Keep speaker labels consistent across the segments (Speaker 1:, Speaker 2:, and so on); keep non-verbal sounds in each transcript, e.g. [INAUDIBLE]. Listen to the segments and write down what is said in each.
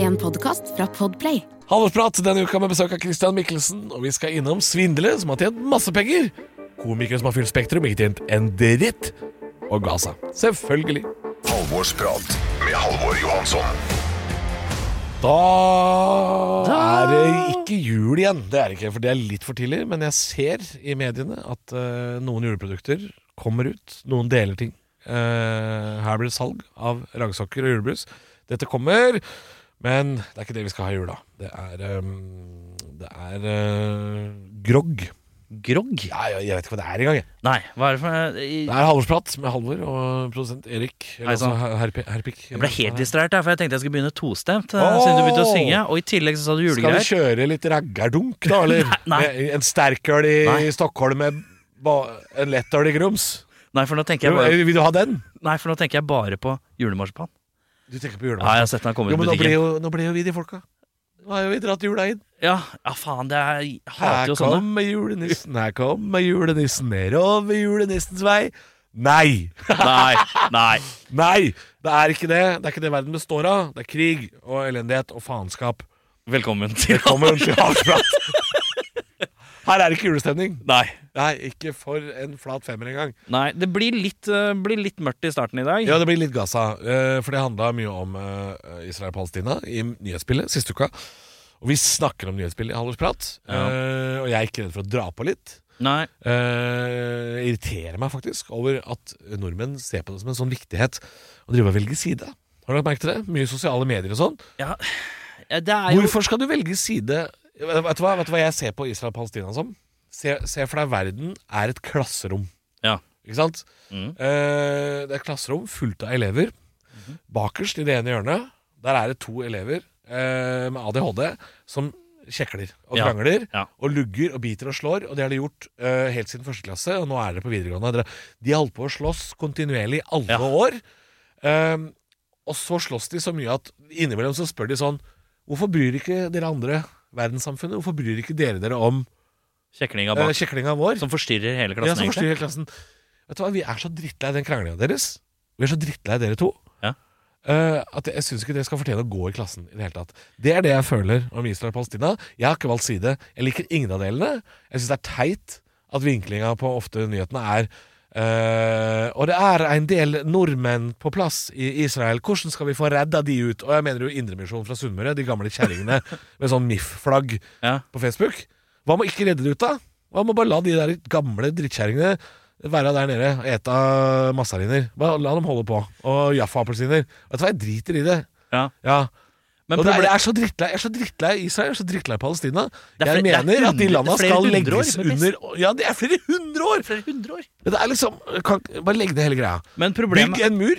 Speaker 1: En podkast fra Podplay.
Speaker 2: Halvorsprat denne uka med besøk av Christian Mikkelsen, og vi skal innom svindlere som har tjent masse penger. Komikere som har fylt Spektrum, ikke tjent en dritt. Og Gaza. Selvfølgelig.
Speaker 3: Halvorsprat med Halvor Johansson.
Speaker 2: Da er det ikke jul igjen. Det er det ikke, for det er litt for tidlig. Men jeg ser i mediene at eh, noen juleprodukter kommer ut. Noen deler ting. Eh, her blir det salg av ragsokker og julebrus. Dette kommer, men det er ikke det vi skal ha i jula. Det er, eh, det er eh, grog.
Speaker 4: Grogg?
Speaker 2: Ja, jeg, jeg vet ikke hva det er engang. jeg.
Speaker 4: Nei, hva er det for Jeg,
Speaker 2: Det er Halvorsprat med Halvor og produsent Erik.
Speaker 4: Hei
Speaker 2: Eller
Speaker 4: sann.
Speaker 2: også Her- Herpik. Herpik.
Speaker 4: jeg ble helt distrahert, der, for jeg tenkte jeg skulle begynne tostemt. eh,
Speaker 2: Åh!
Speaker 4: Siden du begynte å synge, og i tillegg så sa du
Speaker 2: Skal vi
Speaker 4: julegreier.
Speaker 2: kjøre litt raggardunk,
Speaker 4: [LAUGHS]
Speaker 2: da, eller?
Speaker 4: Nei, nei.
Speaker 2: Med En sterkøl i
Speaker 4: Nei.
Speaker 2: Stockholm med ba en lettøl i Grums? eh,
Speaker 4: Nei, for nå tenker jeg bare,
Speaker 2: Vil du ha den?
Speaker 4: nei, for nå tenker jeg bare på julemarsipan.
Speaker 2: Du tenker på julemat.
Speaker 4: Ja, jeg har sett den komme ut i
Speaker 2: Jo, men nå ble
Speaker 4: butikken.
Speaker 2: jo, nå ble jo vi de folka. Nå har jo vi dratt jula inn.
Speaker 4: Ja, ja, faen, det er, jeg hater
Speaker 2: Her
Speaker 4: jo sånne.
Speaker 2: kommer julenissen, her kommer julenissen, nedover julenissens vei. Nei!
Speaker 4: Nei, nei.
Speaker 2: Nei! Det er ikke det. Det er ikke det verden består av. Det er krig og elendighet og faenskap.
Speaker 4: Velkommen til
Speaker 2: Velkommen til Havsprat. [LAUGHS] Her er det ikke julestemning.
Speaker 4: Nei.
Speaker 2: Nei, ikke for en flat femmer engang.
Speaker 4: Nei, det blir litt, eh, blir litt mørkt i starten i dag.
Speaker 2: Ja, det blir litt Gaza. eh, For det handla mye om eh, Israel og Palestina i nyhetsbildet siste uka. Og vi snakker om nyhetsbildet i Halvorsprat.
Speaker 4: Ja.
Speaker 2: eh, Og jeg er ikke redd for å dra på litt.
Speaker 4: Nei,
Speaker 2: Eh, Jeg irriterer meg faktisk over at nordmenn ser på det som en sånn viktighet å drive og velge side. Har du lagt merke til det? Mye sosiale medier og sånn.
Speaker 4: ja, ja, det er jo...
Speaker 2: Hvorfor skal du velge side Vet du hva, vet du hva jeg ser på Israel og Palestina som? Se, se for deg verden er et klasserom.
Speaker 4: Ja.
Speaker 2: Ikke sant?
Speaker 4: Mm.
Speaker 2: Eh, det er et klasserom fullt av elever.
Speaker 4: Mhm.
Speaker 2: Bakerst i det ene hjørnet Der er det to elever eh, med ADHD som kjekler og
Speaker 4: Ja.
Speaker 2: krangler
Speaker 4: Ja.
Speaker 2: og lugger og biter og slår. Og det har de gjort eh, helt siden første klasse, og nå er dere på videregående. Dere- De har holdt på å slåss kontinuerlig i alle
Speaker 4: Ja.
Speaker 2: år. Eh, og så slåss de så mye at innimellom så spør de sånn Hvorfor bryr ikke dere andre verdenssamfunnet? Hvorfor bryr ikke dere dere om
Speaker 4: Kjeklinga
Speaker 2: eh,
Speaker 4: bak,
Speaker 2: kjeklinga vår?
Speaker 4: som forstyrrer hele
Speaker 2: Ja,
Speaker 4: klassen,
Speaker 2: som
Speaker 4: egentlig.
Speaker 2: forstyrrer klassen. Vet du hva, Vi er så drittlei den kranglinga deres. Vi er så drittlei dere to.
Speaker 4: Ja.
Speaker 2: eh, at jeg syns ikke dere skal fortjene å gå i klassen. i Det hele tatt Det er det jeg føler om Israel og Palestina. Jeg har ikke valgt side. Jeg liker ingen av delene. Jeg syns det er teit at vinklinga på ofte nyhetene er eh, og det er en del nordmenn på plass i Israel. Hvordan skal vi få redda de ut? Og jeg mener jo Indremisjonen fra Sunnmøre. De
Speaker 4: [LAUGHS]
Speaker 2: gamle kjerringene med sånn MIF-flagg
Speaker 4: Ja.
Speaker 2: på Facebook. Hva med ikke redde det ut, da? Hva med bare la de der gamle drittkjerringene være der nede og ete massariner? Bare la dem holde på. Og Jaffa-appelsiner. Vet du hva, jeg driter i det.
Speaker 4: Ja.
Speaker 2: Ja.
Speaker 4: Men
Speaker 2: og det, er-
Speaker 4: problemet-
Speaker 2: jeg er så drittlei Jeg er så drittlei Israel, jeg er så drittlei Palestina.
Speaker 4: Det er
Speaker 2: Jeg
Speaker 4: fle- det er
Speaker 2: mener at de
Speaker 4: hundre- flere
Speaker 2: landa skal
Speaker 4: hundre år
Speaker 2: legges
Speaker 4: med
Speaker 2: under Ja, det er flere hundre år!
Speaker 4: flere hundre år.
Speaker 2: Men det er liksom kan, Bare legg ned hele greia.
Speaker 4: Men
Speaker 2: Bygg
Speaker 4: problemet...
Speaker 2: en mur,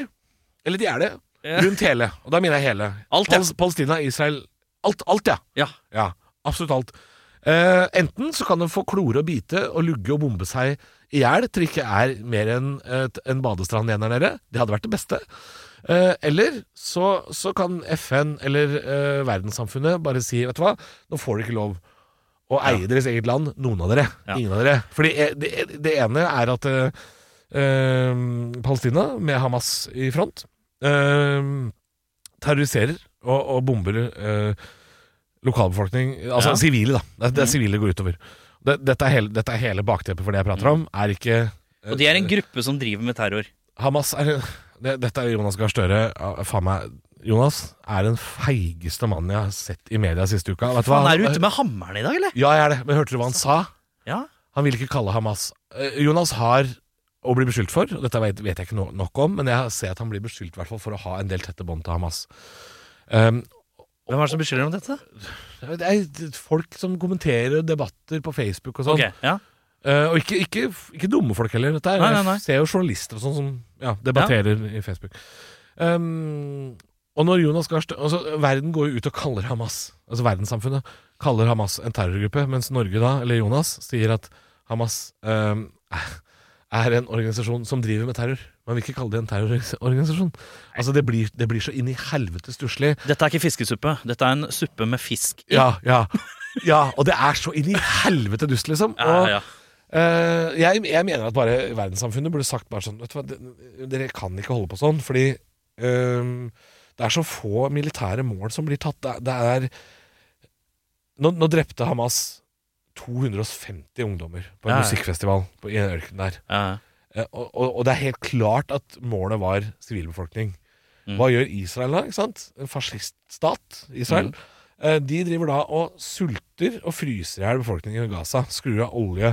Speaker 2: eller de er det,
Speaker 4: Ja.
Speaker 2: rundt hele. Og da mener jeg hele.
Speaker 4: Alt, ja.
Speaker 2: Pal- Palestina, Israel Alt, alt, ja.
Speaker 4: Ja,
Speaker 2: Ja, absolutt alt. Eh, enten så kan den få klore og bite og lugge og bombe seg i hjel til det ikke er mer enn et- en badestrand igjen der nede. Det hadde vært det beste. Eh, eller så, så kan FN eller eh, verdenssamfunnet bare si Vet du hva, nå får dere ikke lov å eie deres eget land, noen av dere.
Speaker 4: Ja.
Speaker 2: Ingen av dere. Fordi eh, det, det ene er at eh, eh, Palestina, med Hamas i front, eh, terroriserer og, og bomber eh, lokalbefolkning Altså
Speaker 4: Ja.
Speaker 2: sivile, da. Det, er- det
Speaker 4: Mhm.
Speaker 2: er sivile det går utover. Det, dette, er hele, dette er hele bakteppet for det jeg prater om. Er ikke eh,
Speaker 4: Mm. og de er en gruppe som driver med terror.
Speaker 2: Hamas er det, Dette er Jonas Gahr Støre. Ja, Faen meg. Jonas er den feigeste mannen jeg har sett i media siste uka. Vet du hva?
Speaker 4: Han er ute med hammeren i dag, eller?
Speaker 2: Ja, jeg er det. Men hørte du hva han sa?
Speaker 4: Ja.
Speaker 2: Han ville ikke kalle Hamas Eh, Jonas har å bli beskyldt for, og dette vet, vet jeg ikke no nok om, men jeg ser at han blir beskyldt i hvert fall for å ha en del tette bånd til Hamas. Um,
Speaker 4: Hvem er det som beskylder om dette?
Speaker 2: det er folk som kommenterer debatter på Facebook og sånn.
Speaker 4: Ok, ja.
Speaker 2: Eh, og ikke, ikke, ikke dumme folk heller. Dette er,
Speaker 4: Nei, nei, nei.
Speaker 2: Jeg ser jo journalister og sånn som ja, debatterer i Facebook. Um, og når Jonas Gahr Stø- altså, Verden går jo ut og kaller Hamas, altså verdenssamfunnet, kaller Hamas en terrorgruppe, mens Norge da, eller Jonas, sier at Hamas um, er en organisasjon som driver med terror. Man vil ikke kalle det en terrororganisasjon. Altså, det blir, det blir så inn i helvete stusslig.
Speaker 4: Dette er ikke fiskesuppe. Dette er en suppe med fisk i.
Speaker 2: Ja, ja. Ja, og det er så inn i helvete dust, liksom.
Speaker 4: [LAUGHS] Ja,
Speaker 2: Og,
Speaker 4: ja.
Speaker 2: Eh, jeg, jeg mener at bare verdenssamfunnet burde sagt bare sånn vet du hva, de- Dere kan ikke holde på sånn, fordi eh, Det er så få militære mål som blir tatt. Det, er- det er nå, nå drepte Hamas 250 ungdommer på en
Speaker 4: Ja, ja.
Speaker 2: musikkfestival på, i ørkenen der.
Speaker 4: Ja.
Speaker 2: Eh, Og, og, og det er helt klart at målet var sivilbefolkning.
Speaker 4: Mm.
Speaker 2: Hva gjør Israel da? ikke sant? En fasciststat, Israel.
Speaker 4: Mm.
Speaker 2: Eh, De driver da og sulter og fryser i hjel befolkningen i Gaza. Skrur av olje,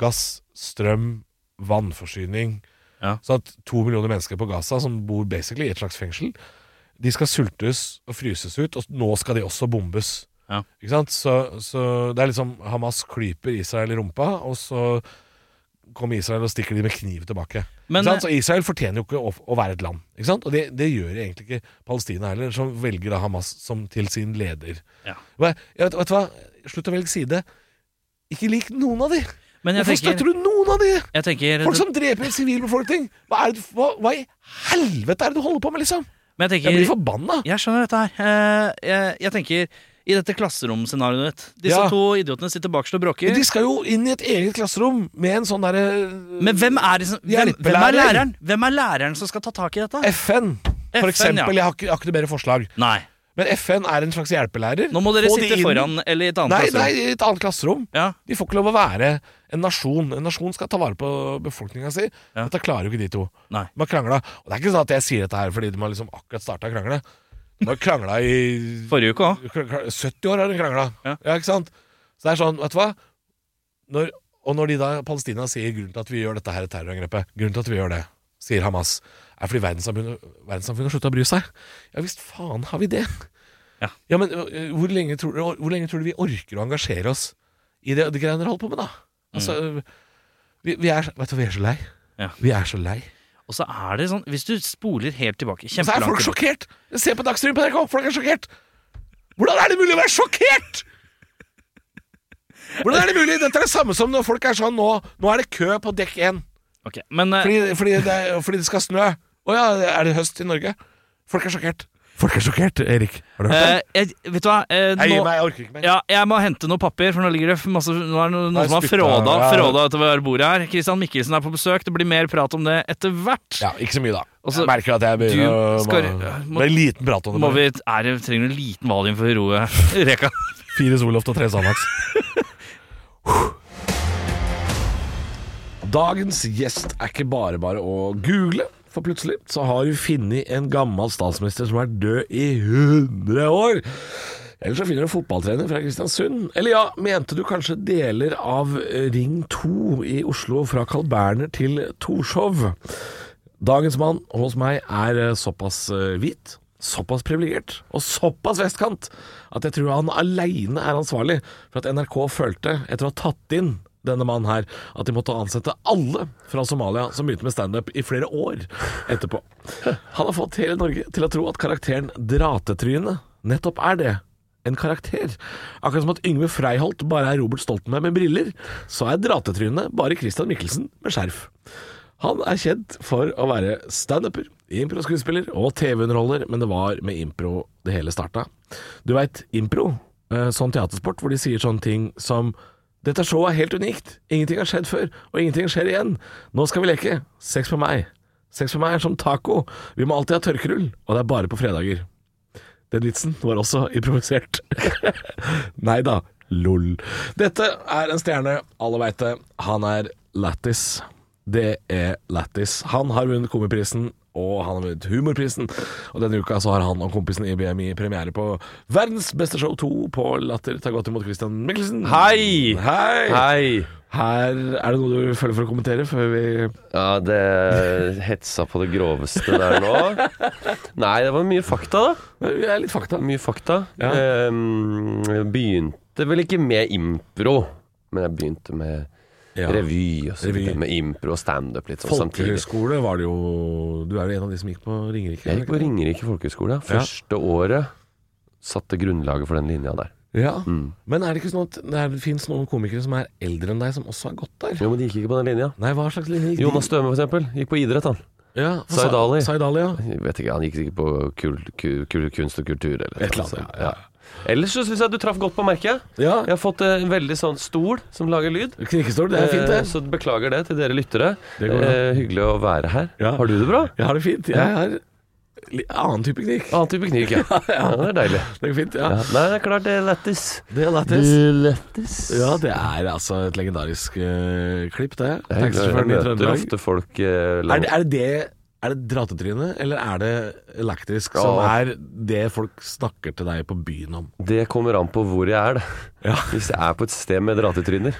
Speaker 2: gass, strøm, vannforsyning.
Speaker 4: Ja.
Speaker 2: Sånn at to millioner mennesker på Gaza, som bor basically i et slags fengsel, de skal sultes og fryses ut, og nå skal de også bombes.
Speaker 4: Ja.
Speaker 2: Ikke sant? Så, så det er liksom Hamas klyper Israel i rumpa, og så kommer Israel og stikker de med kniv tilbake.
Speaker 4: Men, eh,
Speaker 2: ikke sant? Så Israel fortjener jo ikke å, å være et land. Ikke sant? Og det, det gjør egentlig ikke Palestina heller, som velger da Hamas som til sin leder.
Speaker 4: Ja.
Speaker 2: Hva- Ja, vet, vet du hva? Slutt å velge side. Ikke lik noen av de!
Speaker 4: Men jeg
Speaker 2: Hvorfor
Speaker 4: tenker,
Speaker 2: støtter du noen av de?
Speaker 4: jeg tenker
Speaker 2: Folk som dreper sivilbefolkning! Hva, er det, du- hva, hva i helvete er det du holder på med, liksom?
Speaker 4: Men jeg
Speaker 2: Jeg blir
Speaker 4: tenker
Speaker 2: forbanna!
Speaker 4: Jeg skjønner dette her. Eh, Jeg, jeg tenker i dette klasseromscenarioet ditt. Disse
Speaker 2: Ja.
Speaker 4: to idiotene sitter bakerst og bråker.
Speaker 2: Men De skal jo inn i et eget klasserom med en sånn derre
Speaker 4: Men hvem er, det som, hvem, hvem
Speaker 2: Hjelpelærer.
Speaker 4: er læreren? Hvem er læreren som skal ta tak i dette?
Speaker 2: FN, for
Speaker 4: FN,
Speaker 2: eksempel.
Speaker 4: ja.
Speaker 2: Jeg har ikke, jeg har ikke noe bedre forslag.
Speaker 4: Nei,
Speaker 2: Men FN er en slags hjelpelærer.
Speaker 4: nå må dere
Speaker 2: Få de
Speaker 4: sitte
Speaker 2: inn-
Speaker 4: foran eller i et annet
Speaker 2: Nei, nei,
Speaker 4: klasserom.
Speaker 2: i et annet klasserom.
Speaker 4: Ja.
Speaker 2: De får ikke lov å være en nasjon. En nasjon skal ta vare på befolkninga si.
Speaker 4: Ja.
Speaker 2: Dette klarer jo ikke de to.
Speaker 4: Nei.
Speaker 2: De har krangla. Og det er ikke sånn at jeg sier dette her fordi de har liksom akkurat starta å krangle. De har krangla i
Speaker 4: Forrige uke òg.
Speaker 2: kra- kra- 70 år har de krangla.
Speaker 4: Ja.
Speaker 2: ikke sant? Så det er sånn, vet du hva når, Og når de da, Palestina sier grunnen til at vi gjør dette her terrorangrepet, grunnen til at vi gjør det, sier Hamas, er fordi verdenssamfunnet, verdenssamfunnet har slutta å bry seg. Ja visst faen har vi det.
Speaker 4: Ja.
Speaker 2: men ø, ø, hvor lenge, tror, du- hvor lenge tror du vi orker å engasjere oss i det, det greiene dere holder på med, da? Altså, ø, vi, vi er, vet du, hva, vi er så lei.
Speaker 4: Mm. Ja.
Speaker 2: Vi er så lei.
Speaker 4: Og så er det sånn, hvis du spoler helt tilbake
Speaker 2: Og så er
Speaker 4: kjempelangt
Speaker 2: folk
Speaker 4: tilbake.
Speaker 2: sjokkert! Se på Dagsrevyen på NRK, folk er sjokkert! Hvordan er det mulig å være sjokkert?! Hvordan er det mulig? Dette er det samme som når folk er sånn nå Nå er det kø på dekk én
Speaker 4: Ok, Men eh,
Speaker 2: fordi, fordi, det er- fordi det skal snø. Å ja, er det høst i Norge? Folk er sjokkert. Folk er sjokkert, Erik. Har du hørt det?
Speaker 4: eh, jeg, vet du hva? Eh,
Speaker 2: Jeg gir
Speaker 4: nå,
Speaker 2: meg, jeg orker ikke mer.
Speaker 4: ja, jeg må hente noe papir, for nå ligger det masse Nå er det noen,
Speaker 2: Nei,
Speaker 4: noen som har
Speaker 2: spytta,
Speaker 4: fråda,
Speaker 2: ja.
Speaker 4: fråda utover bordet her. Christian Mikkelsen er på besøk. Det blir mer prat om det etter hvert.
Speaker 2: Ja, ikke så mye, da.
Speaker 4: Og så-
Speaker 2: Jeg merker at jeg
Speaker 4: Du
Speaker 2: begynner å
Speaker 4: skal-
Speaker 2: må-
Speaker 4: må-
Speaker 2: Det er liten prat om det.
Speaker 4: Må
Speaker 2: bare.
Speaker 4: vi, er det, trenger du en liten valium for å roe reka?
Speaker 2: Fire Soloft og tre Sanax. Dagens gjest er ikke bare bare å google, for plutselig så har du funnet en gammel statsminister som er død i 100 år. Eller så finner du en fotballtrener fra Kristiansund. Eller ja, mente du kanskje deler av eh, Ring 2 i Oslo fra Carl Berner til Torshov? Dagens mann hos meg er eh, såpass eh, hvit, såpass privilegert og såpass vestkant at jeg tror han aleine er ansvarlig for at NRK følte, etter å ha tatt inn denne mannen her, at de måtte ansette alle fra Somalia som begynte med standup i flere år etterpå. Han har fått hele Norge til å tro at karakteren Dratetryne nettopp er det. En karakter. Akkurat som at Yngve Freiholt bare er Robert Stoltenberg med briller, så er Dratetryne bare Christian Michelsen med skjerf. Han er kjent for å være standuper, impro-skuespiller og TV-underholder, men det var med impro det hele starta. Du veit, impro, eh, sånn teatersport hvor de sier sånne ting som dette showet er helt unikt. Ingenting har skjedd før, og ingenting skjer igjen. Nå skal vi leke. Sex med meg. Sex med meg er som taco. Vi må alltid ha tørkerull, og det er bare på fredager. Den vitsen var også improvisert. [LAUGHS] Nei da, lol. Dette er en stjerne, alle veit det. Han er lættis. Det er lættis. Han har vunnet Komiprisen, og han har vunnet Humorprisen. Og denne uka så har han og kompisen i BMI premiere på Verdens beste show 2 på Latter. Ta godt imot Christian Michelsen.
Speaker 5: Hei!
Speaker 2: Hei!
Speaker 5: Hei!
Speaker 2: Her er det noe du føler for å kommentere før vi
Speaker 5: Ja, det hetsa på det groveste der nå. Nei, det var mye fakta, da.
Speaker 2: Det er litt fakta.
Speaker 5: Mye fakta.
Speaker 2: Ja.
Speaker 5: Ehm, jeg begynte vel ikke med impro, men jeg begynte med revy og så
Speaker 2: Revy.
Speaker 5: videre. Med impro og standup litt sånn samtidig.
Speaker 2: Folkehøyskole var det jo Du er jo en av de som gikk på Ringerike?
Speaker 5: Jeg gikk på Ringerike folkehøgskole. Første året satte grunnlaget for den linja der.
Speaker 2: Ja, Men er det ikke sånn at det, er- det fins noen komikere som er eldre enn deg, som også har gått der?
Speaker 5: Jo, men de gikk ikke på den linja.
Speaker 2: Nei, hva slags linje gikk de-
Speaker 5: Jonas Støme, for eksempel, gikk på idrett, han.
Speaker 2: ja, for
Speaker 5: Zaid
Speaker 2: Sa-
Speaker 5: Ali.
Speaker 2: Zaid Ali, ja.
Speaker 5: Jeg vet ikke, Han gikk sikkert på kul, ku- ku- kunst og kultur eller
Speaker 2: Et eller
Speaker 5: sånt,
Speaker 2: annet,
Speaker 5: så- Ellers så syns jeg du traff godt på merket.
Speaker 2: ja.
Speaker 5: Jeg har fått eh, en veldig sånn stol som lager lyd.
Speaker 2: Knikkestol, det er fint,
Speaker 5: Eh,
Speaker 2: det.
Speaker 5: Så beklager det til dere lyttere.
Speaker 2: Det går bra.
Speaker 5: Eh, hyggelig å være her.
Speaker 2: Ja. [LAUGHS]
Speaker 5: Har du det bra?
Speaker 2: Jeg har det fint. Jeg har li- annen type knikk.
Speaker 5: Annen type kniv,
Speaker 2: [LAUGHS]
Speaker 5: ja. ja. Det er deilig.
Speaker 2: Det er fint,
Speaker 5: Ja.
Speaker 2: ja.
Speaker 5: Nei, det er klart det er lættis.
Speaker 2: Det er lættis.
Speaker 5: Lættis.
Speaker 2: Ja, det er altså et legendarisk eh, klipp, det.
Speaker 5: Jeg
Speaker 2: Taxisjåføren i
Speaker 5: møter
Speaker 2: Trøndelag.
Speaker 5: ofte folk eh,
Speaker 2: Er
Speaker 5: langt
Speaker 2: det, er det det er det dratetryne, eller er det elektrisk,
Speaker 5: Ja.
Speaker 2: som er det folk snakker til deg på byen om?
Speaker 5: Det kommer an på hvor jeg er, da.
Speaker 2: Ja.
Speaker 5: Hvis jeg er på et sted med dratetryner,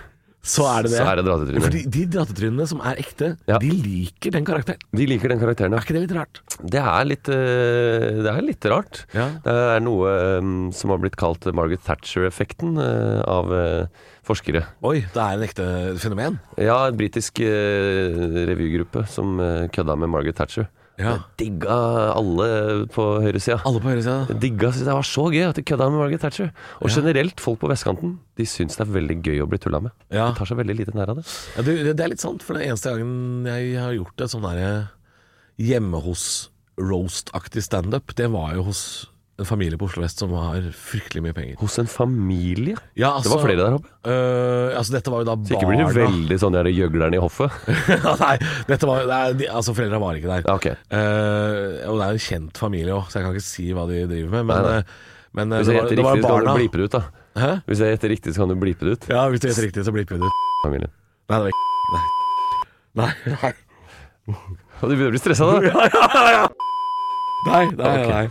Speaker 2: Så er det det.
Speaker 5: så er det
Speaker 2: Ja,
Speaker 5: dratetryner.
Speaker 2: Fordi de dratetrynene som er ekte,
Speaker 5: Ja.
Speaker 2: de liker den karakteren.
Speaker 5: De liker den karakteren, ja.
Speaker 2: Er ikke det litt rart?
Speaker 5: Det er litt, eh, det er litt rart.
Speaker 2: Ja.
Speaker 5: Det er noe eh, som har blitt kalt Margaret Thatcher-effekten eh, av eh, forskere.
Speaker 2: Oi, det er en ekte fenomen.
Speaker 5: Ja, en britisk eh, revygruppe som eh, kødda med Margaret Thatcher.
Speaker 2: Ja.
Speaker 5: Digga alle på høyresida.
Speaker 2: Alle på høyresida.
Speaker 5: Digga, synes Det var så gøy at de kødda med Margaret Thatcher. Og generelt, folk på vestkanten De syns det er veldig gøy å bli tulla med.
Speaker 2: Ja.
Speaker 5: De tar seg veldig lite nær av det.
Speaker 2: Ja, det, det er litt sant, for den eneste gangen jeg har gjort et sånn derre hjemme hos roast-aktig standup, det var jo hos en familie på Oslo vest som har fryktelig mye penger.
Speaker 5: Hos en familie?
Speaker 2: Ja,
Speaker 5: det var flere der oppe.
Speaker 2: øh, altså, dette var jo da Altså, barna
Speaker 5: Så ikke blir det veldig sånn der gjøglerne i hoffet.
Speaker 2: [LAUGHS] Ja, Nei, dette var, nei de, altså foreldra var ikke der.
Speaker 5: Ja, ok.
Speaker 2: Eh, og det er jo en kjent familie òg, så jeg kan ikke si hva de driver med. Men,
Speaker 5: Nei, nei.
Speaker 2: eh, men eh,
Speaker 5: Hvis
Speaker 2: det, var,
Speaker 5: jeg gjetter
Speaker 2: det var
Speaker 5: riktig, så kan
Speaker 2: barna.
Speaker 5: du blipe det ut, da.
Speaker 2: Hæ?
Speaker 5: Hvis jeg gjetter riktig, så kan du blipe det ut.
Speaker 2: Ja, hvis du gjetter riktig, så bliper du ut.
Speaker 5: Familien.
Speaker 2: Nei, det var ikke Nei. Nei, nei.
Speaker 5: Og du begynner å bli stressa,
Speaker 2: [LAUGHS]
Speaker 5: da?
Speaker 2: Nei, nei,
Speaker 5: Ok.
Speaker 2: nei.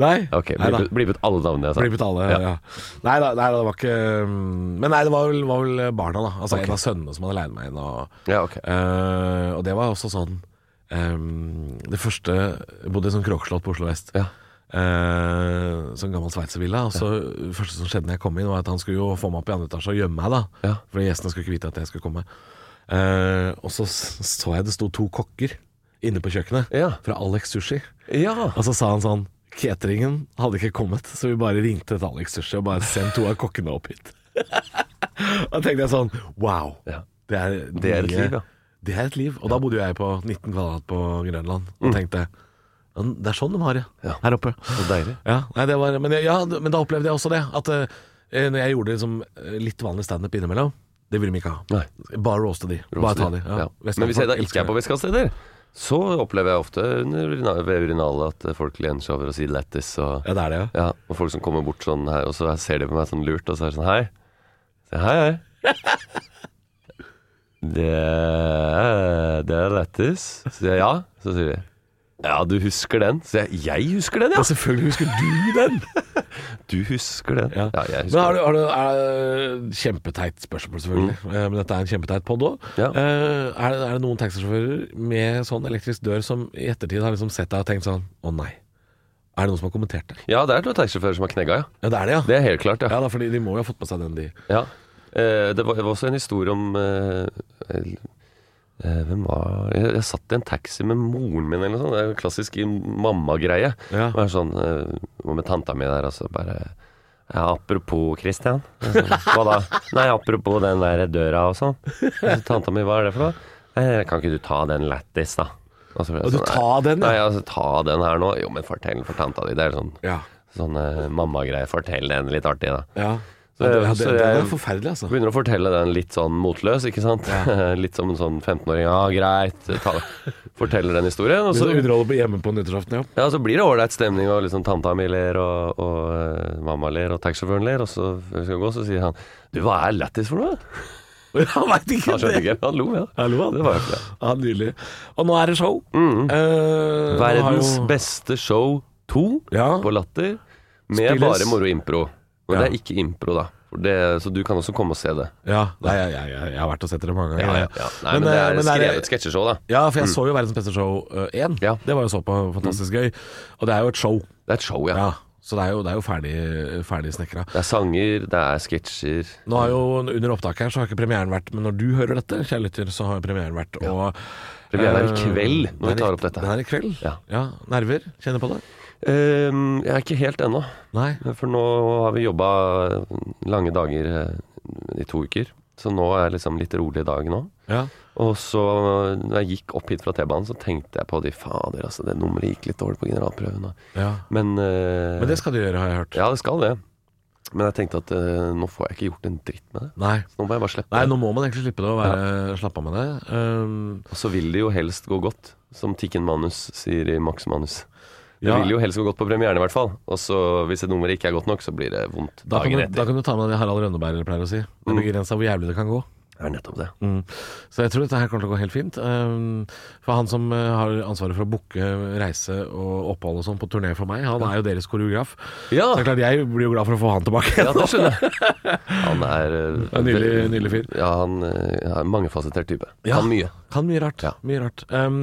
Speaker 2: nei.
Speaker 5: Ok,
Speaker 2: nei da.
Speaker 5: blip ut- blip ut alle navnene jeg sa.
Speaker 2: Blippet alle, ja.
Speaker 5: Ja.
Speaker 2: Nei da, nei, da, det var ikke mm, Men nei, det var vel, var vel barna, da. Altså
Speaker 5: Ok.
Speaker 2: en av sønnene som hadde leid meg inn. Og,
Speaker 5: Ja, ok.
Speaker 2: eh, og det var også sånn eh, Det første Jeg bodde i sånn kråkeslott på Oslo vest.
Speaker 5: Ja.
Speaker 2: Eh, sånn gammel sveitservilla. Og så det første som skjedde når jeg kom inn, var at han skulle jo få meg opp i andre etasje og gjemme meg, da.
Speaker 5: Ja.
Speaker 2: Fordi gjestene skulle ikke vite at jeg skulle komme. Eh, og så s- så jeg det sto to kokker inne på kjøkkenet
Speaker 5: Ja.
Speaker 2: fra Alex Sushi.
Speaker 5: ja.
Speaker 2: Og så sa han sånn Cateringen hadde ikke kommet, så vi bare ringte til Alex Sushi og bare send to av kokkene opp hit. [LAUGHS] da tenkte jeg sånn Wow.
Speaker 5: Ja.
Speaker 2: Det er,
Speaker 5: Det er et
Speaker 2: mye-
Speaker 5: liv, ja.
Speaker 2: Det er et liv. Og da bodde jo jeg på 19 kvadrat på Grønland og tenkte "Ja, Det er sånn de har det
Speaker 5: Mm. Ja.
Speaker 2: her oppe.
Speaker 5: Så deilig.
Speaker 2: Ja, nei, det var, men, jeg- ja, men da opplevde jeg også det. At eh, når jeg gjorde liksom, eh, litt vanlig standup innimellom, det ville de ikke ha.
Speaker 5: Nei.
Speaker 2: Bare roaste de. Bare ta de. Ja.
Speaker 5: Ja.
Speaker 2: Vestkanten
Speaker 5: Men hvis jeg da
Speaker 2: elsker
Speaker 5: ikke er
Speaker 2: det.
Speaker 5: på vestkantsteder, så opplever jeg ofte under urina- ved urinalet at folk lener seg over og sier 'lættis' og
Speaker 2: Ja, det er det, ja.
Speaker 5: ja, og folk som kommer bort sånn her, og så ser de på meg sånn lurt, og så er det sånn Hei. Så, jeg, hei, hei. Det er, det er lættis. Så sier jeg ja. Så sier de ja, du husker den? Så jeg, jeg husker den,
Speaker 2: Ja,
Speaker 5: ja!
Speaker 2: selvfølgelig husker du den!
Speaker 5: Du husker den. Ja, jeg
Speaker 2: Men har du,
Speaker 5: [LAUGHS] husker den.
Speaker 2: har du, er, eh, Kjempeteit spørsmål, selvfølgelig. Eh, Men dette er en kjempeteit pod òg.
Speaker 5: Mm. Ja.
Speaker 2: er, det- er det noen taxisjåfører med sånn elektrisk dør som i ettertid har liksom sett deg og tenkt sånn Å nei. Er det noen som har kommentert det?
Speaker 5: Ja, det er noen taxisjåfører som har knegga, ja.
Speaker 2: Ja, det er det, ja.
Speaker 5: Det er helt klart, ja.
Speaker 2: Ja, da, fordi De må jo ha fått med seg den, de.
Speaker 5: Ja. Eh, det, var, det var også en historie om eh, eh, Hvem var jeg, jeg satt i en taxi med moren min eller noe sånt. Det er jo en klassisk i- mammagreie.
Speaker 2: Ja.
Speaker 5: Det var sånn eh, Var med tanta mi der, altså bare ja, apropos Christian. Jeg sa, Hva da? Nei, apropos den der døra og sånn. Og Så tanta mi, hva er det for noe? Nei, kan ikke du ta den lættis, da? Og så ble jeg
Speaker 2: Og du
Speaker 5: sånn,
Speaker 2: ta den,
Speaker 5: Nei,
Speaker 2: ja.
Speaker 5: altså, ta den her nå. Jo, men fortell for tanta di. Det er sånn,
Speaker 2: Ja.
Speaker 5: sånn eh, mammagreie. Fortell den litt artig, da.
Speaker 2: ja.
Speaker 5: Så-
Speaker 2: det, ja, det,
Speaker 5: så
Speaker 2: det,
Speaker 5: jeg-
Speaker 2: er forferdelig, altså.
Speaker 5: Begynner å fortelle den litt sånn motløs, ikke sant? [LAUGHS] litt som en sånn 15-åring. Ja, greit. Ta, forteller den historien. Og
Speaker 2: Så
Speaker 5: så,
Speaker 2: du underholder på hjemme på nyttårsaften, ja. [LAUGHS]
Speaker 5: ja, så blir det ålreit stemning, og liksom tanta mi ler, og, og eh, mamma ler, og taxisjåføren ler. Og så før vi skal gå, så sier han Du, hva er lættis for noe?
Speaker 2: Han veit ikke
Speaker 5: Han skjønte ikke. Han lo, ja.
Speaker 2: Hallo, han.
Speaker 5: Det var jo ikke det. Mm.
Speaker 2: Ja, Nydelig. Og nå er det show. Eh, nå har
Speaker 5: Verdens
Speaker 2: jo-
Speaker 5: beste show 2
Speaker 2: Ja.
Speaker 5: på Latter, med
Speaker 2: Spilles.
Speaker 5: bare moro impro. Men
Speaker 2: Ja.
Speaker 5: det er ikke impro, da. For Det, så du kan også komme og se det.
Speaker 2: Ja, nei, jeg, jeg, jeg, jeg har vært og sett det mange ganger. jeg.
Speaker 5: Nei, men, det
Speaker 2: eh,
Speaker 5: er
Speaker 2: men
Speaker 5: skrevet sketsjeshow, da.
Speaker 2: Ja, for jeg så jo Verdens beste show eh, 1.
Speaker 5: Ja.
Speaker 2: Det var jo så på fantastisk gøy. Og det er jo et show.
Speaker 5: Det er et show, ja.
Speaker 2: Ja, så det er jo, det er jo ferdig, ferdig snekra.
Speaker 5: Det er sanger, det er sketsjer.
Speaker 2: Nå har jo Under opptaket her så har ikke premieren vært, men når du hører dette, kjære lytter, så har jo premieren vært. Og,
Speaker 5: Premieren er i
Speaker 2: eh,
Speaker 5: kveld, når vi
Speaker 2: den er i-
Speaker 5: tar opp dette her.
Speaker 2: Den er i kveld?
Speaker 5: Ja.
Speaker 2: Nerver? Kjenner på det?
Speaker 5: Ehm, jeg er ikke helt ennå,
Speaker 2: Nei.
Speaker 5: for nå har vi jobba lange dager eh, i to uker. Så nå er jeg liksom litt rolig i dag nå.
Speaker 2: Ja.
Speaker 5: Og så, når jeg gikk opp hit fra T-banen, så tenkte jeg på de fader, altså, det nummeret gikk litt dårlig på generalprøven. da.
Speaker 2: ja.
Speaker 5: Men, eh,
Speaker 2: Men det skal du gjøre, har jeg hørt.
Speaker 5: Ja, det skal det. Men jeg tenkte at eh, nå får jeg ikke gjort en dritt med det.
Speaker 2: Nei.
Speaker 5: Så nå må jeg bare slippe
Speaker 2: Nei,
Speaker 5: det.
Speaker 2: nå må man egentlig slippe det og være, slappe av med det. Um,
Speaker 5: Og så vil det jo helst gå godt, som Tikken Manus sier i Max Manus. Det
Speaker 2: Ja.
Speaker 5: vil jo helst gå godt på premieren, i hvert fall. Og så hvis et nummer ikke er godt nok, så blir det vondt
Speaker 2: da, kan
Speaker 5: dagen
Speaker 2: du, da
Speaker 5: etter.
Speaker 2: kan du ta med det Harald Rønneberg pleier å si. Det
Speaker 5: Mm.
Speaker 2: er begrensa hvor jævlig det kan gå.
Speaker 5: Det er nettopp det.
Speaker 2: Mm. Så jeg tror dette her kommer til å gå helt fint. Um, for han som eh, har ansvaret for å booke reise og opphold og sånn på turné for meg, han er jo deres koreograf.
Speaker 5: Ja.
Speaker 2: Så det er klart jeg blir jo glad for å få han tilbake. [LAUGHS]
Speaker 5: Ah. Ja, det skjønner jeg. Han er eh,
Speaker 2: En nydelig- nydelig fyr.
Speaker 5: Ja, han eh, er en mangefasettert type.
Speaker 2: Ja.
Speaker 5: Kan mye.
Speaker 2: Kan mye rart.
Speaker 5: Ja.
Speaker 2: Mye rart. Um,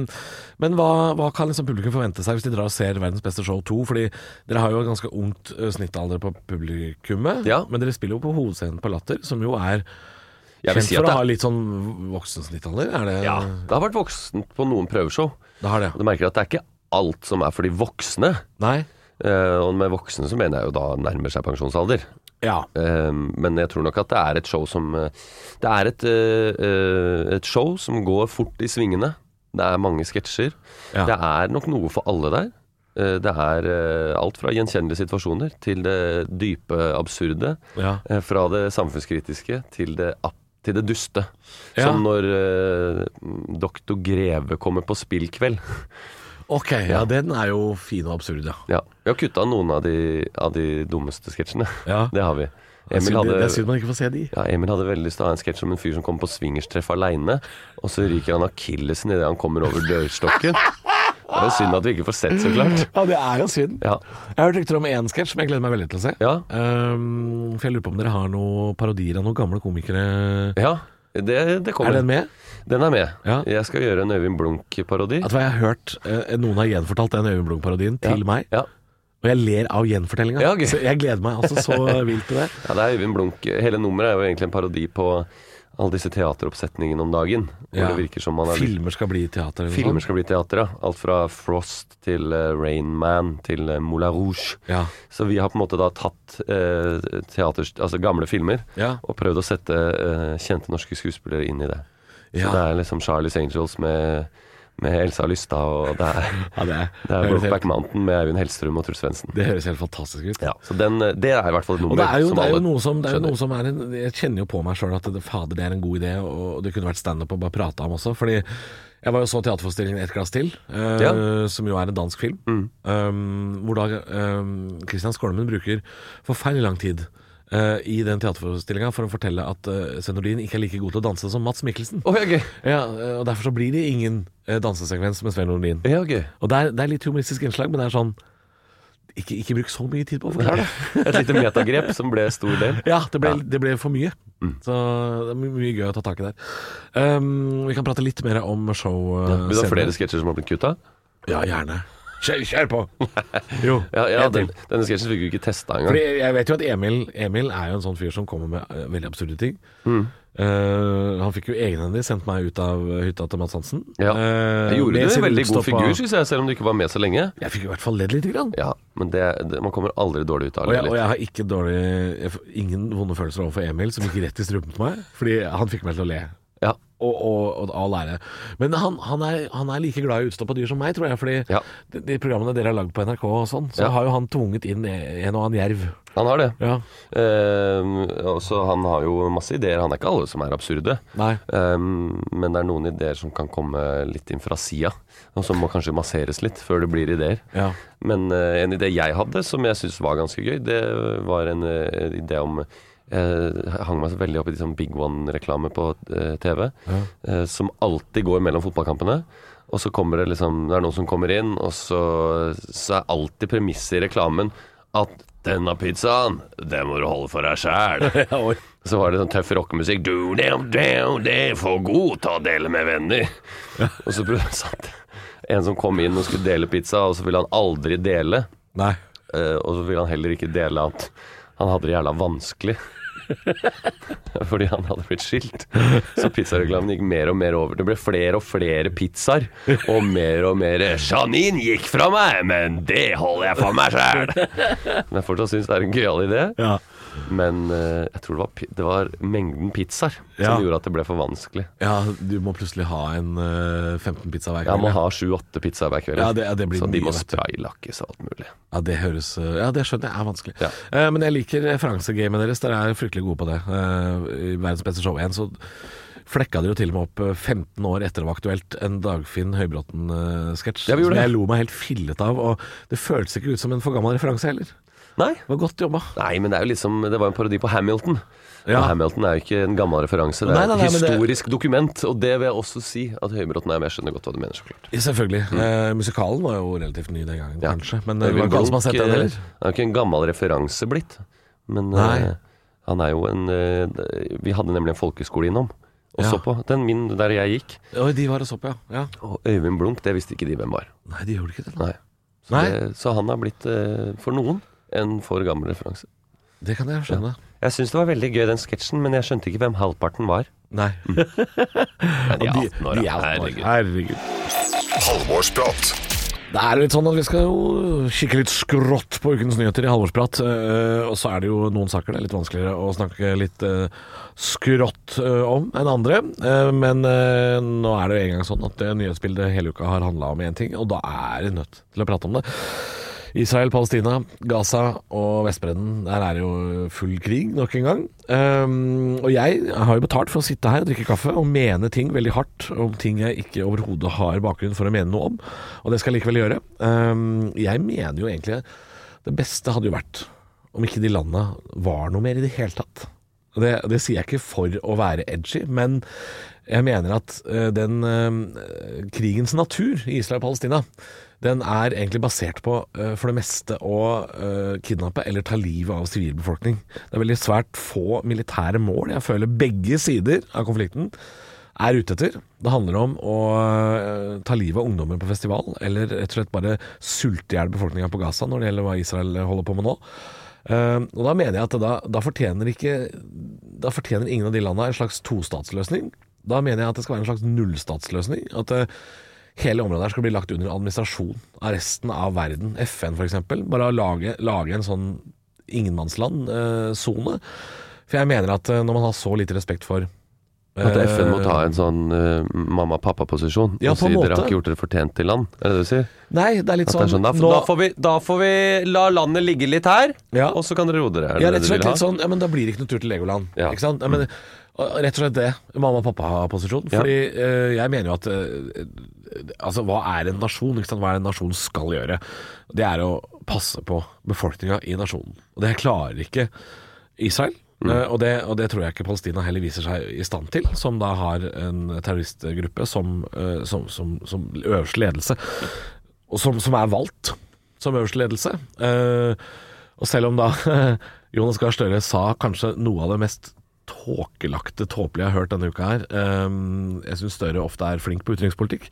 Speaker 2: men hva, hva kan liksom publikum forvente seg hvis de drar og ser Verdens beste show 2? Fordi dere har jo et ganske ungt eh, snittalder på publikummet.
Speaker 5: Ja.
Speaker 2: Men dere spiller jo på hovedscenen på Latter, som jo er
Speaker 5: Jeg vil
Speaker 2: kjent
Speaker 5: si
Speaker 2: for å
Speaker 5: at det,
Speaker 2: ha litt sånn voksensnittalder. Er det
Speaker 5: ja, det har vært voksent på noen prøveshow.
Speaker 2: Det har det,
Speaker 5: Og
Speaker 2: ja.
Speaker 5: Du merker at det er ikke alt som er for de voksne.
Speaker 2: Nei?
Speaker 5: Eh, og med voksne så mener jeg jo da nærmer seg pensjonsalder.
Speaker 2: Ja.
Speaker 5: Eh, men jeg tror nok at det er et show som eh, Det er et, eh, eh, et show som går fort i svingene. Det er mange sketsjer.
Speaker 2: Ja.
Speaker 5: Det er nok noe for alle der. Eh, det er eh, alt fra gjenkjennelige situasjoner til det dype absurde.
Speaker 2: ja.
Speaker 5: Eh, Fra det samfunnskritiske til det, ap- til det duste.
Speaker 2: Ja.
Speaker 5: Som når eh, Doktor Greve kommer på spillkveld.
Speaker 2: Ok, ja, den er jo fin og absurd, ja.
Speaker 5: Ja. Vi har kutta noen av de, av de dummeste sketsjene. [LAUGHS]
Speaker 2: Ja.
Speaker 5: Det har vi.
Speaker 2: Det er
Speaker 5: Emil
Speaker 2: synd- Det er
Speaker 5: hadde,
Speaker 2: synd man ikke får se de.
Speaker 5: ja, Emil hadde veldig lyst til å ha en sketsj om en fyr som kommer på swingerstreff aleine, og så ryker han akillesen idet han kommer over dørstokken. Det er jo synd at vi ikke får sett, så klart.
Speaker 2: Ja, det er jo synd.
Speaker 5: Ja.
Speaker 2: Jeg har hørt rykter om én sketsj som jeg gleder meg veldig til å se.
Speaker 5: Ja.
Speaker 2: Um, for jeg lurer på om dere har noen parodier av noen gamle komikere.
Speaker 5: ja. Det, det kommer.
Speaker 2: Er den med?
Speaker 5: Den er med.
Speaker 2: Ja.
Speaker 5: Jeg skal gjøre en Øyvind Blunk-parodi.
Speaker 2: At hva jeg har hørt eh, Noen har gjenfortalt den Øyvind Blunk-parodien til meg,
Speaker 5: Ja.
Speaker 2: og jeg ler av gjenfortellinga.
Speaker 5: Ja, gøy.
Speaker 2: Så jeg gleder meg altså så
Speaker 5: [LAUGHS]
Speaker 2: vilt til det.
Speaker 5: Ja, det er Øyvind Blunk. Hele nummeret er jo egentlig en parodi på alle disse teateroppsetningene om dagen. Hvor
Speaker 2: Ja.
Speaker 5: det virker som man er
Speaker 2: Filmer sånn. skal bli teater. eller noe
Speaker 5: Filmer
Speaker 2: sånt.
Speaker 5: skal bli teater, ja. Alt fra Frost til eh, Rain Man til eh, Moulin Rouge.
Speaker 2: Ja.
Speaker 5: Så vi har på en måte da tatt eh, teaters, altså gamle filmer
Speaker 2: Ja.
Speaker 5: og prøvd å sette eh, kjente norske skuespillere inn i det. Så
Speaker 2: Ja.
Speaker 5: det er liksom Charlies Angels med, med Elsa Lystad, og
Speaker 2: [LAUGHS]
Speaker 5: det er,
Speaker 2: Ja, det, er,
Speaker 5: det er
Speaker 2: høres
Speaker 5: Brokeback
Speaker 2: helt,
Speaker 5: Mountain med Øyvind Hellstrøm og Truls Svendsen.
Speaker 2: det høres helt fantastisk ut.
Speaker 5: Ja, så den, eh, det er i hvert fall
Speaker 2: Og
Speaker 5: et nummer
Speaker 2: det er jo,
Speaker 5: som
Speaker 2: det er jo
Speaker 5: alle
Speaker 2: noe som, det er jo
Speaker 5: skjønner.
Speaker 2: noe som er en, Jeg kjenner jo på meg sjøl at det, fader, det er en god idé, og det kunne vært standup å bare prate om også. Fordi jeg var jo så teaterforestillingen Et glass til, eh,
Speaker 5: Ja. Mm.
Speaker 2: som jo er en dansk film. Um, hvor da um, Christian Skolmen bruker forferdelig lang tid eh, i den teaterforestillinga for å fortelle at uh, Svein Nordin ikke er like god til å danse som Mats Mikkelsen.
Speaker 5: Å, ja, gøy.
Speaker 2: Ja, eh, og Derfor så blir det ingen eh, dansesekvens med Svein Nordin.
Speaker 5: Ja, gøy.
Speaker 2: Og det er, det er litt humoristisk innslag, men det er sånn ikke, ikke bruk så mye tid på å forklare det.
Speaker 5: Et lite metagrep som ble stor del.
Speaker 2: Ja, det ble, det ble for mye.
Speaker 5: Mm.
Speaker 2: Så det er my- mye gøy å ta tak i der. Um, vi kan prate litt mer om show. eh,
Speaker 5: Vil du ha
Speaker 2: senere.
Speaker 5: flere sketsjer som har blitt kutta?
Speaker 2: Ja, gjerne. Kjør, kjør på!
Speaker 5: [LAUGHS]
Speaker 2: Jo,
Speaker 5: Ja, ja,
Speaker 2: en til.
Speaker 5: den, denne sketsjen fikk vi ikke testa engang.
Speaker 2: Fordi jeg vet jo at Emil, Emil er jo en sånn fyr som kommer med eh, veldig absurde ting.
Speaker 5: Mm.
Speaker 2: Eh, han fikk jo egenhendig sendt meg ut av hytta til Mads Hansen.
Speaker 5: Ja.
Speaker 2: Eh,
Speaker 5: Jeg gjorde
Speaker 2: med
Speaker 5: du en
Speaker 2: sin
Speaker 5: veldig god
Speaker 2: utstoppa-
Speaker 5: figur, syns jeg, selv om du ikke var med så lenge.
Speaker 2: Jeg fikk i hvert fall ledd lite grann.
Speaker 5: Ja, men det, det, man kommer aldri dårlig ut av
Speaker 2: Og
Speaker 5: det.
Speaker 2: jeg, og jeg har ikke dårlig jeg får Ingen vonde følelser overfor Emil, som gikk rett i strupen på meg. Fordi han fikk meg til å le.
Speaker 5: Ja.
Speaker 2: Og, og, og all ære. Men han, han, er, han er like glad i utstoppa dyr som meg, tror jeg. Fordi
Speaker 5: Ja.
Speaker 2: de, de programmene dere har lagd på NRK og sånn, så
Speaker 5: Ja.
Speaker 2: har jo han tvunget inn en og annen jerv.
Speaker 5: Han har det.
Speaker 2: Ja.
Speaker 5: Eh, og så han har jo masse ideer. Han er ikke alle som er absurde.
Speaker 2: Nei.
Speaker 5: Eh, men det er noen ideer som kan komme litt inn fra sida, og som må kanskje masseres litt før det blir ideer. [LAUGHS]
Speaker 2: Ja.
Speaker 5: Men eh, en idé jeg hadde, som jeg syntes var ganske gøy, det var en eh, idé om jeg hang meg så veldig opp i de sånn Big One-reklame på eh, TV, eh, som alltid går mellom fotballkampene. Og så kommer det liksom Det er noen som kommer inn, og så, så er alltid premisset i reklamen at 'Denne pizzaen, den må du holde for deg sjæl'.
Speaker 2: Ja, oi.
Speaker 5: Så var det sånn tøff rockemusikk. Du, det, det, det får god ta og dele med venner. Og så prøvde- satt en som kom inn og skulle dele pizza, og så ville han aldri dele.
Speaker 2: Nei.
Speaker 5: eh, Og så ville han heller ikke dele at han hadde det jævla vanskelig. [LAUGHS] Fordi han hadde blitt skilt. Så pizzareklamen gikk mer og mer over. Det ble flere og flere pizzaer. Og mer og mer 'Janine gikk fra meg, men det holder jeg for meg sjæl'. Men jeg fortsatt syns det er en gøyal idé.
Speaker 2: Ja.
Speaker 5: Men eh, jeg tror det var, pi- det var mengden pizzaer
Speaker 2: Ja.
Speaker 5: som gjorde at det ble for vanskelig.
Speaker 2: Ja, du må plutselig ha en eh, 15 pizza hver
Speaker 5: Jeg må
Speaker 2: kveld.
Speaker 5: ha sju-åtte pizzaer hver kveld.
Speaker 2: Ja, det- ja, det blir
Speaker 5: så de
Speaker 2: mye,
Speaker 5: må
Speaker 2: vet du.
Speaker 5: spraylakkes og alt mulig.
Speaker 2: Ja, det høres eh, Ja, det skjønner jeg er vanskelig.
Speaker 5: Ja.
Speaker 2: Eh, men jeg liker referansegamet deres. Dere er fryktelig gode på det. Eh, I Verdens beste show 1 så flekka dere jo til og med opp eh, 15 år etter det var aktuelt, en Dagfinn Høybråten-sketsj.
Speaker 5: Ja, vi gjorde
Speaker 2: som
Speaker 5: det.
Speaker 2: jeg lo meg helt fillet av, og det føltes ikke ut som en for gammel referanse heller.
Speaker 5: Nei,
Speaker 2: Det var godt jobba.
Speaker 5: nei, men det er jo liksom Det var jo en parodi på Hamilton.
Speaker 2: Ja.
Speaker 5: Og Hamilton er jo ikke en gammel referanse, det er
Speaker 2: Nei, nei, nei,
Speaker 5: et
Speaker 2: men det-
Speaker 5: historisk dokument. Og det vil jeg også si at Høybråten er med. Jeg skjønner godt hva du mener, så klart.
Speaker 2: Selvfølgelig. Eh, musikalen var jo relativt ny den gangen,
Speaker 5: Mm. Ja.
Speaker 2: kanskje. Men det
Speaker 5: Øyvind
Speaker 2: var ikke alle som har
Speaker 5: Blunk,
Speaker 2: sett den
Speaker 5: eh,
Speaker 2: heller.
Speaker 5: Han er jo ikke en gammel referanse blitt, men
Speaker 2: Nei.
Speaker 5: eh, han er jo en eh, Vi hadde nemlig en folkeskole innom og
Speaker 2: Ja.
Speaker 5: så på. Den min der jeg gikk.
Speaker 2: Oi, de var og så på, ja. ja.
Speaker 5: Og Øyvind Blunk, det visste ikke de hvem var.
Speaker 2: Nei, de gjorde ikke det. da.
Speaker 5: Nei. Så,
Speaker 2: Nei.
Speaker 5: Det, så han har blitt, eh, for noen, en for gammel referanse.
Speaker 2: Det kan jeg skjønne.
Speaker 5: Jeg syns det var veldig gøy, den sketsjen, men jeg skjønte ikke hvem halvparten var.
Speaker 2: Nei.
Speaker 5: Nei, de er
Speaker 2: Og
Speaker 5: 18 år,
Speaker 2: de
Speaker 5: ja.
Speaker 2: er 18 år.
Speaker 5: Herregud.
Speaker 2: Herregud.
Speaker 3: Halvorsprat.
Speaker 2: Det er jo litt sånn at Vi skal jo kikke litt skrått på ukens nyheter i halvårsprat. eh, Og så er det jo noen saker det er litt vanskeligere å snakke litt eh, skrått eh, om enn andre. Eh, Men eh, nå er det jo engang sånn at eh, nyhetsbildet hele uka har handla om én ting, og da er det nødt til å prate om det. Israel, Palestina, Gaza og Vestbredden. Der er det jo full krig nok en gang. Ehm, og jeg har jo betalt for å sitte her og drikke kaffe og mene ting veldig hardt om ting jeg ikke overhodet har bakgrunn for å mene noe om. Og det skal jeg likevel gjøre. Ehm, jeg mener jo egentlig det beste hadde jo vært om ikke de landa var noe mer i det hele tatt. Og Det, det sier jeg ikke for å være edgy, men jeg mener at eh, den eh, krigens natur i Israel og Palestina, den er egentlig basert på eh, for det meste å eh, kidnappe eller ta livet av sivilbefolkning. Det er veldig svært få militære mål. Jeg føler begge sider av konflikten er ute etter. Det handler om å eh, ta livet av ungdommer på festival, eller rett og slett bare sulte i hjel befolkninga på Gaza når det gjelder hva Israel holder på med nå. Eh, og da mener jeg at da, da, fortjener ikke, da fortjener ingen av de landa en slags tostatsløsning. Da mener jeg at det skal være en slags nullstatsløsning. At eh, hele området her skal bli lagt under administrasjon av resten av verden. FN f.eks. Bare å lage, lage en sånn ingenmannsland-sone. for jeg mener at eh, når man har så lite respekt for
Speaker 5: At
Speaker 2: eh,
Speaker 5: FN må ta en sånn eh, mamma-pappa-posisjon
Speaker 2: Ja,
Speaker 5: og
Speaker 2: på
Speaker 5: si
Speaker 2: en måte.
Speaker 5: dere har ikke gjort dere fortjent til land. Er det det du sier?
Speaker 2: Nei, det er litt
Speaker 5: At det er
Speaker 2: sånn,
Speaker 5: sånn da,
Speaker 2: nå,
Speaker 5: da, får vi, da får vi la landet ligge litt her,
Speaker 2: Ja.
Speaker 5: og så kan dere roe dere. Er
Speaker 2: ja,
Speaker 5: det
Speaker 2: rett
Speaker 5: det
Speaker 2: og
Speaker 5: du
Speaker 2: slett
Speaker 5: vil ha?
Speaker 2: litt sånn Ja, men da blir det ikke noe tur til Legoland.
Speaker 5: Ja. Mm.
Speaker 2: Ikke sant? Ja, men, og Rett og slett det. Mamma og pappa-posisjon.
Speaker 5: Ja.
Speaker 2: Fordi eh, jeg mener jo at eh, Altså, hva er en nasjon? Ikke sant? Hva er en nasjon skal gjøre? Det er å passe på befolkninga i nasjonen. Og det klarer ikke Israel.
Speaker 5: Mm.
Speaker 2: Eh, og, det, og det tror jeg ikke Palestina heller viser seg i stand til, som da har en terroristgruppe som, eh, som, som, som øverste ledelse. Og som, som er valgt som øverste ledelse. Eh, og selv om da [LAUGHS] Jonas Gahr Støre sa kanskje noe av det mest tåkelagte, tåpelige jeg har hørt denne uka her ehm, Jeg syns Støre ofte er flink på utenrikspolitikk.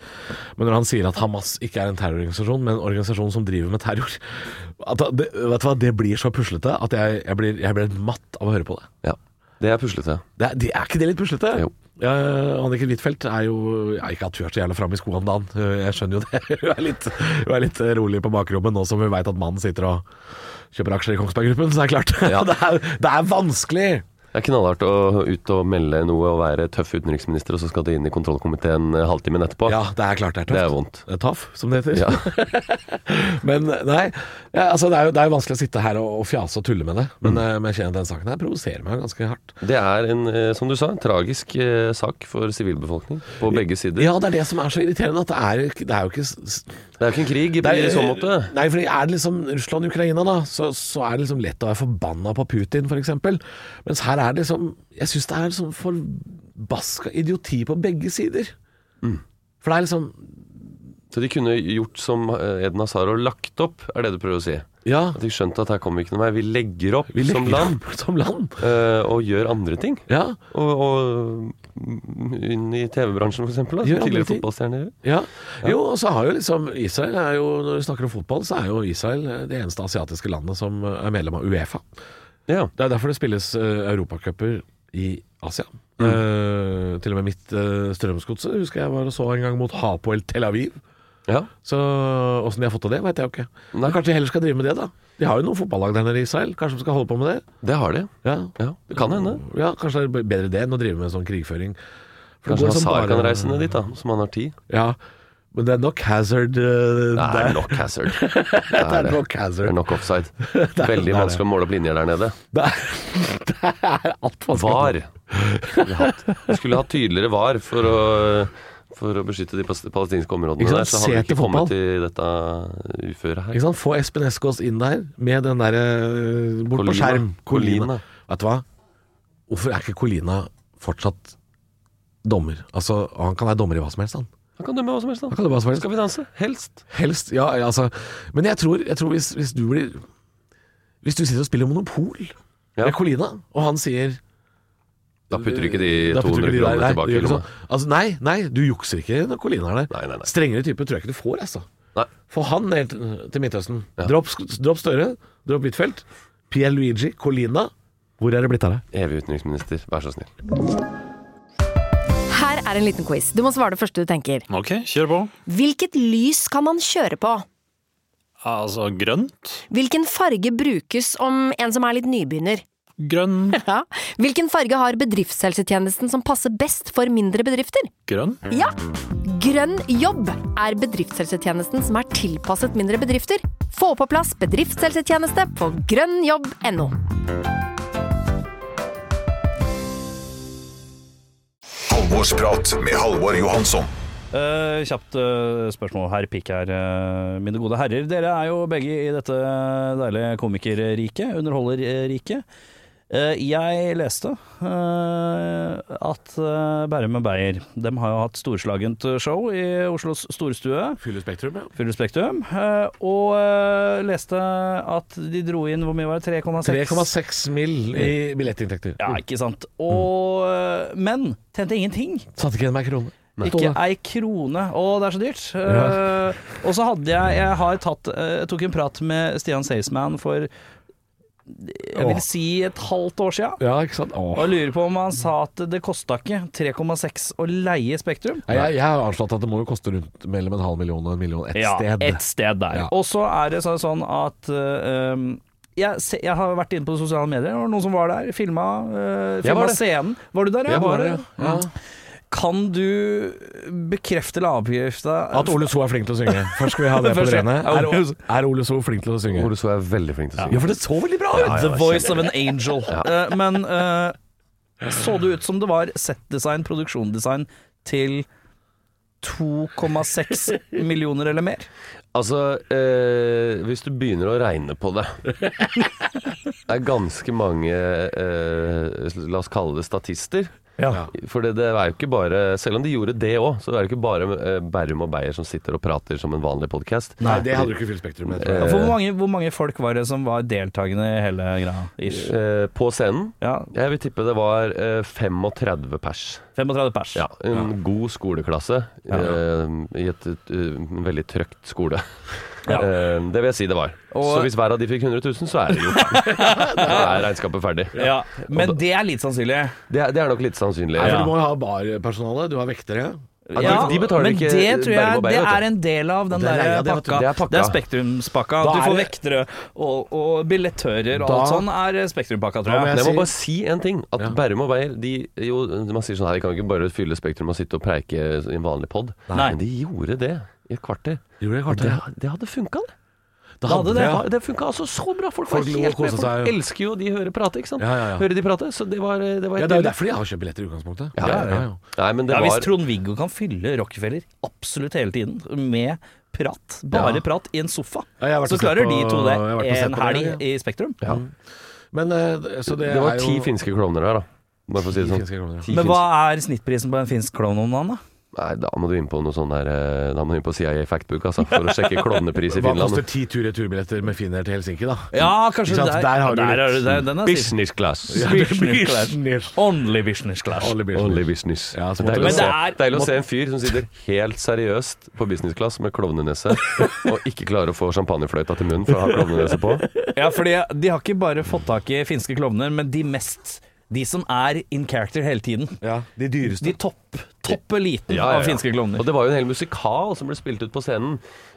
Speaker 2: Men når han sier at Hamas ikke er en terrororganisasjon, men en organisasjon som driver med terror at det, Vet du hva, det blir så puslete at jeg, jeg, blir, jeg blir matt av å høre på det.
Speaker 5: Ja. Det er puslete.
Speaker 2: Det er, det er ikke det litt puslete?
Speaker 5: Jo.
Speaker 2: Ja, Anniken Huitfeldt er jo ja, Ikke at hun er så jævla framme i skoene om dagen, Eh, jeg skjønner jo det. [LAUGHS] Hun er litt, hun er litt eh, rolig på bakrommet nå som hun veit at mannen sitter og kjøper aksjer i Kongsberg Gruppen, så det er klart. [LAUGHS] det, er, det er vanskelig!
Speaker 5: Det er knallhardt å ut og melde noe og være tøff utenriksminister, og så skal du inn i kontrollkomiteen eh, halvtimen etterpå.
Speaker 2: Ja, det er klart det er tøft.
Speaker 5: Det er vondt.
Speaker 2: Det er Taff, som det heter.
Speaker 5: Ja.
Speaker 2: [LAUGHS] Men nei, ja, altså det er, jo, det er jo vanskelig å sitte her og, og fjase og tulle med det. Men, eh, men jeg kjenner at den saken her provoserer meg ganske hardt.
Speaker 5: Det er en, eh, som du sa, en tragisk eh, sak for sivilbefolkning på begge sider.
Speaker 2: Ja, det er det som er så irriterende. At det er, ikke- det er jo ikke s-
Speaker 5: Det er jo ikke en krig i, i så måte.
Speaker 2: eh, Nei, fordi er det liksom Russland og Ukraina, da, så, så er det liksom lett å være forbanna på Putin, f.eks. Mens her er det liksom Jeg syns det er liksom forbaska idioti på begge sider.
Speaker 5: Mm.
Speaker 2: For det er liksom
Speaker 5: Så de kunne gjort som eh, Edna Saro lagt opp, er det du prøver å si.
Speaker 2: Ja,
Speaker 5: At de skjønte at her kommer vi ikke noe vei. Vi legger opp
Speaker 2: vi
Speaker 5: som
Speaker 2: legger
Speaker 5: land
Speaker 2: opp [LAUGHS] Som land.
Speaker 5: eh, og gjør andre ting.
Speaker 2: Ja,
Speaker 5: Og, og mm, inn i TV-bransjen, for eksempel. Da,
Speaker 2: Gjør
Speaker 5: som
Speaker 2: andre
Speaker 5: tidligere
Speaker 2: ting.
Speaker 5: fotballstjerner. gjør.
Speaker 2: ja. Jo, og så har jo liksom Israel er jo, Når du snakker om fotball, så er jo Israel det eneste asiatiske landet som er medlem av Uefa.
Speaker 5: Ja.
Speaker 2: Det er derfor det spilles eh, europacuper i Asia.
Speaker 5: Mm.
Speaker 2: Eh, til og med mitt uh, Strømsgodset husker jeg var og så en gang mot Hapoel Tel Aviv.
Speaker 5: Ja.
Speaker 2: Så åssen de har fått til det, vet jeg jo ikke.
Speaker 5: Nei.
Speaker 2: Men kanskje de heller skal drive med det, da. De har jo noen fotballag der nede i Israel. Kanskje de skal holde på med det?
Speaker 5: Det har de.
Speaker 2: Ja,
Speaker 5: Ja, det kan hende.
Speaker 2: ja Kanskje det er bedre det enn å drive med sånn krigføring. For det
Speaker 5: Kanskje
Speaker 2: går som
Speaker 5: Hazard
Speaker 2: bare-
Speaker 5: kan reise ned dit, da, som han har tid.
Speaker 2: Ja, men det er nok hazard [LAUGHS] eh,
Speaker 5: Det
Speaker 2: der.
Speaker 5: er nok hazard. Det
Speaker 2: Det
Speaker 5: er,
Speaker 2: er
Speaker 5: det.
Speaker 2: nok
Speaker 5: Det
Speaker 2: hazard.
Speaker 5: er nok
Speaker 2: [LAUGHS]
Speaker 5: offside. Veldig vanskelig å måle opp linjer der nede.
Speaker 2: Det er, [LAUGHS] det er alt vanskelig.
Speaker 5: Var. Skulle hatt, vi skulle hatt tydeligere var for å, for å beskytte de pas- palestinske områdene
Speaker 2: Ikke sant?
Speaker 5: der. Så hadde
Speaker 2: Se
Speaker 5: vi ikke
Speaker 2: til fotball.
Speaker 5: kommet i dette uføret her.
Speaker 2: Ikke sant? Få Espen Eskås inn der med den derre bort
Speaker 5: Colina.
Speaker 2: på skjerm.
Speaker 5: Colina.
Speaker 2: Vet du hva? Hvorfor er ikke Colina fortsatt dommer? Altså, Han kan være dommer i hva som helst, han.
Speaker 5: Han kan dømme hva som helst,
Speaker 2: han
Speaker 5: han.
Speaker 2: kan det hva som helst.
Speaker 5: Skal vi danse? Helst.
Speaker 2: Helst, ja, ja, altså Men jeg tror, jeg tror hvis, hvis du blir Hvis du sitter og spiller Monopol
Speaker 5: Ja.
Speaker 2: med Colina, og han sier
Speaker 5: Da putter du ikke de
Speaker 2: Da putter du
Speaker 5: 200
Speaker 2: ikke de der. Nei, du
Speaker 5: kronene tilbake
Speaker 2: gjør
Speaker 5: i
Speaker 2: ikke
Speaker 5: lomma.
Speaker 2: sånn. Altså, nei, nei, du jukser ikke når Colina er der.
Speaker 5: Nei, nei, nei.
Speaker 2: Strengere type tror jeg ikke du får, altså.
Speaker 5: Nei.
Speaker 2: Få han ned til til Midtøsten. Dropp, Sk- dropp Støre, dropp Huitfeldt. Pierluigi, Colina. Hvor er det blitt av deg?
Speaker 5: Evig utenriksminister, vær så snill.
Speaker 6: Her er en liten quiz. Du må svare det første du tenker.
Speaker 7: Ok, kjør på.
Speaker 6: Hvilket lys kan man kjøre på?
Speaker 7: Altså grønt.
Speaker 6: Hvilken farge brukes om en som er litt nybegynner? [LAUGHS]
Speaker 7: Grønn.
Speaker 6: Ja. Hvilken farge har bedriftshelsetjenesten som passer best for mindre bedrifter?
Speaker 7: Grønn.
Speaker 6: Ja! Grønn jobb er bedriftshelsetjenesten som er tilpasset mindre bedrifter. Få på plass bedriftshelsetjeneste på grønnjobb.no.
Speaker 3: Halvorsprat med Halvor Johansson.
Speaker 7: Eh, kjapt eh, spørsmål her, pikk her, eh, mine gode herrer. Dere er jo begge i dette deilige komikerriket, underholderriket. Eh, jeg leste eh, at eh, Bærum og Beyer De har jo hatt storslagent show i Oslos storstue.
Speaker 2: Fyller Spektrum, ja.
Speaker 7: Fulle Spektrum. eh, og eh, leste at de dro inn hvor mye var det? 3,6?
Speaker 2: 3,6 mill. i billettinntekter.
Speaker 7: Ja, ikke sant. Og, eh, men tjente ingenting.
Speaker 2: Satte ikke igjen meg en krone.
Speaker 7: Ikke ei krone. Å, det er så dyrt. Eh, og så hadde jeg Jeg har tatt eh, Jeg tok en prat med Stian Salesman for Jeg vil
Speaker 2: Åh.
Speaker 7: si et halvt år sia.
Speaker 2: Ja, ikke sant? Åh.
Speaker 7: Og jeg lurer på om han sa at det kosta ikke 3,6 å leie Spektrum.
Speaker 2: Nei, jeg, jeg har anslått at det må jo koste rundt mellom en halv million og en million et sted.
Speaker 7: Et sted der.
Speaker 2: Ja.
Speaker 7: Og så er det så- sånn at eh, um, jeg, se, jeg har vært inne på sosiale medier, og noen som var der, filma, eh,
Speaker 2: Jeg var
Speaker 7: filma
Speaker 2: det.
Speaker 7: scenen. Var du der?
Speaker 2: Jeg var
Speaker 7: Var
Speaker 2: der,
Speaker 7: du?
Speaker 2: ja. Ja.
Speaker 7: Kan du bekrefte eller avbekrefte
Speaker 2: At Ole So er flink til å synge. Først skal vi
Speaker 7: [LAUGHS]
Speaker 2: ha det på
Speaker 7: Først,
Speaker 2: det rene.
Speaker 7: ja.
Speaker 2: Er, er Ole So flink til å synge?
Speaker 5: Ole Så er veldig flink til å
Speaker 2: Ja,
Speaker 5: synge.
Speaker 2: for det så veldig bra ut!
Speaker 7: The voice of an angel. Eh, men eh, så det ut som det var settdesign, produksjonsdesign, til 2,6 millioner eller mer?
Speaker 5: Altså, eh, hvis du begynner å regne på det Det er ganske mange, eh, la oss kalle det statister. For det, det er jo ikke bare Selv om de gjorde det òg, så er det ikke bare eh, Bærum og Beyer som sitter og prater som en vanlig podkast.
Speaker 2: Nei, det hadde du ikke fylt Spektrum med. tror jeg.
Speaker 7: Og Hvor mange, hvor mange folk var det som var deltakende i hele greia? Ish.
Speaker 5: Eh, på scenen
Speaker 7: Ja,
Speaker 5: Jeg vil tippe det var eh, 35 pers.
Speaker 7: 35 pers.
Speaker 5: Ja, en god skoleklasse eh, i et, et, eh, veldig trøkt skole.
Speaker 7: Ja.
Speaker 5: Eh, det vil jeg si det var.
Speaker 7: Og-
Speaker 5: så hvis hver av de fikk 100 000, så er det gjort. da er regnskapet ferdig.
Speaker 7: Ja, Men det er litt sannsynlig.
Speaker 5: Det, er, det er nok litt sannsynlig.
Speaker 2: Nei, for
Speaker 7: Ja.
Speaker 2: Du må jo ha barpersonale, du har vektere.
Speaker 5: de- de betaler
Speaker 7: men
Speaker 5: ikke
Speaker 7: det tror
Speaker 5: Bærum
Speaker 7: jeg
Speaker 5: og Beyer,
Speaker 7: det
Speaker 5: vet du.
Speaker 7: er en del av den
Speaker 2: Det er
Speaker 7: der
Speaker 2: leia, det, vet du.
Speaker 7: pakka.
Speaker 5: Det er pakka.
Speaker 7: Spektrumspakka.
Speaker 2: Da
Speaker 7: Du
Speaker 2: er
Speaker 7: får
Speaker 2: det-
Speaker 7: vektere og, og billettører og
Speaker 2: Da-
Speaker 7: alt sånn er Spektrumspakka, tror
Speaker 2: Da må
Speaker 7: jeg.
Speaker 5: Men jeg må
Speaker 2: sier-
Speaker 5: bare si en ting. At
Speaker 2: Ja.
Speaker 5: Bærum og Beyer de, jo, Man sier sånn her, de kan ikke bare fylle Spektrum og sitte og preike i en vanlig pod.
Speaker 7: Nei.
Speaker 5: Men de gjorde det i et kvarter.
Speaker 2: Gjorde det
Speaker 5: Og det, det hadde funka, det.
Speaker 2: Da
Speaker 7: hadde det.
Speaker 2: ja.
Speaker 5: Ja, det funka altså så bra. Folk,
Speaker 2: Folk
Speaker 5: var
Speaker 2: lo og
Speaker 5: helt med.
Speaker 2: koset
Speaker 5: Folk
Speaker 2: seg, ja.
Speaker 5: elsker jo de hører prate, ikke sant.
Speaker 2: Ja, ja, ja.
Speaker 5: Hører de prate. Så det var, eh, det var
Speaker 2: Ja,
Speaker 5: helt
Speaker 2: det er jo
Speaker 5: nydelig.
Speaker 2: derfor jeg har kjøpt billetter i utgangspunktet.
Speaker 5: Ja, ja, ja. Nei, men det
Speaker 7: Ja,
Speaker 5: var
Speaker 7: Hvis Trond-Viggo kan fylle Rockefeller absolutt hele tiden med prat, bare
Speaker 2: Ja.
Speaker 7: prat, i en sofa,
Speaker 2: Ja, jeg har vært
Speaker 7: så
Speaker 2: og sett
Speaker 7: klarer
Speaker 2: på-
Speaker 7: de to
Speaker 2: jeg har vært og
Speaker 7: det
Speaker 2: sett
Speaker 7: en
Speaker 2: på det,
Speaker 7: helg i Spektrum.
Speaker 2: Men eh, så det,
Speaker 5: Det var
Speaker 2: er jo
Speaker 5: ti finske klovner der, da. Bare for å si det
Speaker 2: Ti
Speaker 5: sånn.
Speaker 2: finske kroner, ja.
Speaker 5: Ti
Speaker 7: Men
Speaker 5: finske-
Speaker 7: hva er snittprisen på en finsk klovn om dagen, da?
Speaker 5: Nei, da må du inn på noe sånn der eh, Da må du inn på CIA Factbook, altså, for å
Speaker 2: [LAUGHS]
Speaker 5: sjekke klovnepris i
Speaker 2: Hva koster
Speaker 5: Finland.
Speaker 2: ti tur-retur-billetter med Finner til Helsinki, da? [LAUGHS]
Speaker 7: Ja, kanskje
Speaker 2: Ikke sant,
Speaker 7: der,
Speaker 2: der har du litt.
Speaker 7: er det- der- Den er snitt.
Speaker 5: Business class.
Speaker 7: Business class. Only business class.
Speaker 2: Alle billetter.
Speaker 5: Only business.
Speaker 2: Ja, så måtte
Speaker 5: deilig,
Speaker 2: vi-
Speaker 5: å se,
Speaker 7: Men det er-
Speaker 5: deilig å se en fyr som sitter helt seriøst på business class med klovnenese, og ikke klarer å få champagnefløyta
Speaker 2: [LAUGHS]
Speaker 5: til munnen for å ha klovnenese på.
Speaker 7: Ja, fordi de har ikke bare fått tak i finske klovner, men de mest De som er in character hele tiden.
Speaker 2: Ja, de dyreste.
Speaker 7: De topp, topp eliten
Speaker 5: Ja, ja, ja.
Speaker 7: av finske klovner.
Speaker 5: Og det var jo en hel musikal som ble spilt ut på scenen.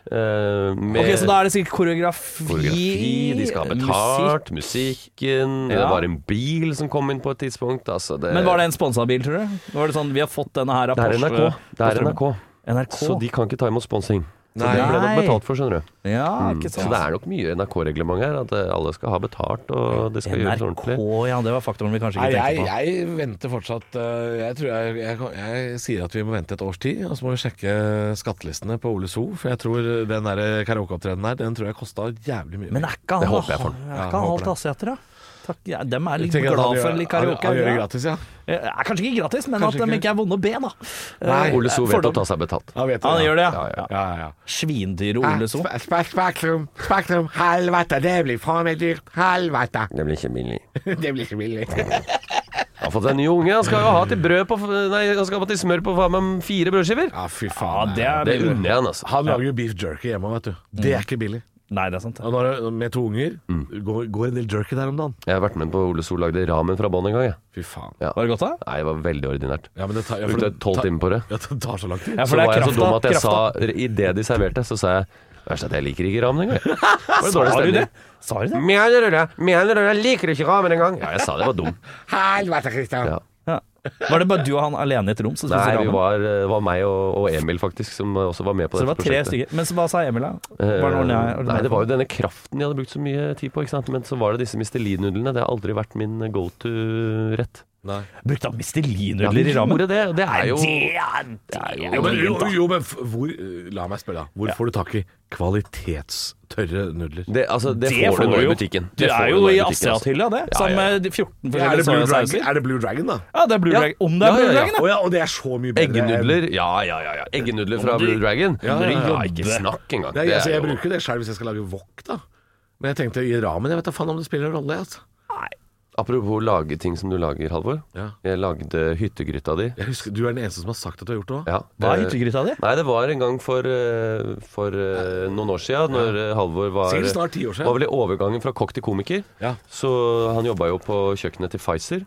Speaker 5: eh, med
Speaker 7: Ok, Så da er det sikkert koreografi,
Speaker 5: koreografi, de skal ha
Speaker 7: musikk.
Speaker 5: betalt, musikken
Speaker 7: Ja.
Speaker 5: Det var en bil som kom inn på et tidspunkt. Altså det,
Speaker 7: Men var det en sponsa bil, tror du? Var det sånn, Vi har fått denne her av
Speaker 5: det er
Speaker 7: Porsche.
Speaker 5: NRK. Det er NRK.
Speaker 7: NRK.
Speaker 5: Så de kan ikke ta imot sponsing. Så
Speaker 2: Nei.
Speaker 5: det ble nok
Speaker 7: Nei.
Speaker 5: betalt for, skjønner du.
Speaker 7: Ja,
Speaker 5: Mm.
Speaker 7: ikke
Speaker 5: Så
Speaker 7: sant.
Speaker 5: det er nok mye NRK-reglement her. At eh, alle skal ha betalt, og det skal gjøres
Speaker 7: NRK,
Speaker 5: ordentlig.
Speaker 7: ja. Det var faktoren vi kanskje
Speaker 2: Nei,
Speaker 7: ikke
Speaker 2: jeg,
Speaker 7: tenkte på.
Speaker 2: jeg venter fortsatt eh, Jeg tror jeg, jeg, jeg sier at vi må vente et års tid, og så må vi sjekke skattelistene på Ole So. For jeg tror den der karaokeopptredenen der, den tror jeg kosta jævlig mye.
Speaker 7: Men er ikke han
Speaker 5: Det håper jeg for
Speaker 7: Er
Speaker 5: den.
Speaker 7: ikke
Speaker 2: Ja, jeg
Speaker 7: han
Speaker 2: håper
Speaker 7: halvt
Speaker 2: det.
Speaker 7: asiater, da? Takk, ja, dem er
Speaker 2: Du
Speaker 7: litt
Speaker 2: tenker at
Speaker 7: glad
Speaker 2: han gjør-
Speaker 7: for litt karaoke.
Speaker 2: Han, han gjør det
Speaker 7: ja.
Speaker 2: gratis, ja.
Speaker 7: Eh, Kanskje ikke gratis, men
Speaker 2: Kanskje
Speaker 7: at de
Speaker 2: ikke.
Speaker 7: ikke er vonde å be, da. Eh,
Speaker 2: Nei,
Speaker 5: Ole So vet
Speaker 7: Fordom.
Speaker 5: å ta seg betalt.
Speaker 2: Han vet det,
Speaker 7: Han
Speaker 2: ja.
Speaker 7: gjør det,
Speaker 5: Ja, ja.
Speaker 7: ja.
Speaker 2: Ja, ja, ja.
Speaker 7: Svindyre Ole So.
Speaker 2: Spe- spe- Spektrum, Spektrum, helvete, det blir faen meg dyrt. Helvete. [LAUGHS]
Speaker 5: Det blir ikke billig.
Speaker 2: Det blir ikke billig.
Speaker 5: Han har fått seg en ny unge. Han skal jo ha til, brød på, nei, han skal ha til smør på faen meg fire brødskiver.
Speaker 2: Ja, fy
Speaker 7: Ja,
Speaker 2: faen.
Speaker 7: det er Mm.
Speaker 5: Det unner jeg han, altså.
Speaker 2: Han lager jo beef jerky hjemme, vet du. Det er ikke billig.
Speaker 7: Nei, det er sant. det.
Speaker 2: Og når, med to unger
Speaker 7: Mm.
Speaker 2: går, går en del jerky der om dagen.
Speaker 5: Jeg har vært med på Ole So lagde ramen fra bånn en gang. Jeg.
Speaker 2: Fy faen.
Speaker 5: Ja.
Speaker 7: Var det godt, da?
Speaker 5: Nei, det var veldig ordinært.
Speaker 2: Ja, men det tar, ja, for
Speaker 5: Brukte
Speaker 2: det
Speaker 5: tolv
Speaker 2: tar-
Speaker 5: timer på det.
Speaker 2: Ja, det tar så lang tid.
Speaker 7: Ja,
Speaker 5: Så
Speaker 7: for det
Speaker 5: var
Speaker 7: er
Speaker 5: jeg så dum
Speaker 7: krafta.
Speaker 5: at jeg
Speaker 7: krafta.
Speaker 5: sa Idet de serverte, så sa jeg Verst at jeg liker ikke
Speaker 7: [LAUGHS]
Speaker 5: ramen engang. Det var det dårlig
Speaker 7: Sa du det?
Speaker 5: stemning.
Speaker 7: Sa du det?
Speaker 5: Mener du det? Liker du ikke ramen engang? Ja, jeg sa det var dum.
Speaker 2: Helvete, Kristian.
Speaker 5: Ja.
Speaker 7: Ja. Var det bare du og han alene i et rom som spiste
Speaker 5: Nei, vi
Speaker 7: ramen?
Speaker 5: var, det var meg og, og Emil faktisk som også var med på
Speaker 7: Så det
Speaker 5: dette
Speaker 7: var tre
Speaker 5: prosjektet.
Speaker 7: stykker. Men så hva sa Emil, da?
Speaker 5: Eh,
Speaker 7: Var det ordinær- ordinær-
Speaker 5: Nei, det var jo denne kraften jeg hadde brukt så mye tid på, ikke sant. Men så var det disse Mistelin-nudlene. Det har aldri vært min go to-rett.
Speaker 2: Nei.
Speaker 7: Brukte han
Speaker 5: Ja,
Speaker 7: mistelinudler
Speaker 5: vi
Speaker 7: i rammen?
Speaker 5: gjorde det, og det er jo
Speaker 2: Jo, men, jo, jo, men f- hvor La meg spørre, da. Hvor får du tak i kvalitetstørre nudler?
Speaker 5: det, altså, det,
Speaker 7: Det
Speaker 5: får du
Speaker 7: får
Speaker 5: nå
Speaker 7: du
Speaker 5: i
Speaker 7: jo.
Speaker 5: butikken.
Speaker 7: Du
Speaker 5: Det får
Speaker 7: er jo
Speaker 5: nå
Speaker 7: i
Speaker 5: butikken, altså.
Speaker 7: Asiat-hylla, det.
Speaker 5: Ja,
Speaker 7: Sammen
Speaker 5: ja, ja.
Speaker 7: med 14
Speaker 2: er,
Speaker 7: forskjellige
Speaker 2: det Blue
Speaker 7: sojasauser.
Speaker 2: Dragon? er det Blue Dragon, da?
Speaker 7: Ja, det er Blue
Speaker 5: Ja.
Speaker 7: Dragon. Om det er
Speaker 5: Ja,
Speaker 7: Blue
Speaker 5: ja, ja.
Speaker 7: Dragon,
Speaker 2: Å
Speaker 7: da!
Speaker 2: ja, og det er så mye bedre.
Speaker 5: Eggenudler, ja, ja, ja, ja. Eggenudler fra Blue Dragon? Ja, Ikke snakk engang.
Speaker 2: Nei,
Speaker 5: Det
Speaker 2: altså, jeg
Speaker 5: er jo-
Speaker 2: bruker det sjøl hvis jeg skal lage wok, da. Men jeg tenkte i ramen Jeg vet da faen om det spiller en rolle, jeg, altså.
Speaker 5: Apropos lage ting som du lager, Halvor.
Speaker 2: Ja.
Speaker 5: Jeg lagde hyttegryta di.
Speaker 2: Jeg husker, du er den eneste som har sagt at du har gjort det òg.
Speaker 5: Ja,
Speaker 7: Hva er
Speaker 5: det-
Speaker 7: hyttegryta di?
Speaker 5: Nei, det var en gang for, eh, for eh, noen år siden, når eh, Halvor var
Speaker 2: Sikkert snart ti år siden.
Speaker 5: Var vel i overgangen fra kokk til komiker.
Speaker 2: Ja.
Speaker 5: Så han jobba jo på kjøkkenet til Pfizer.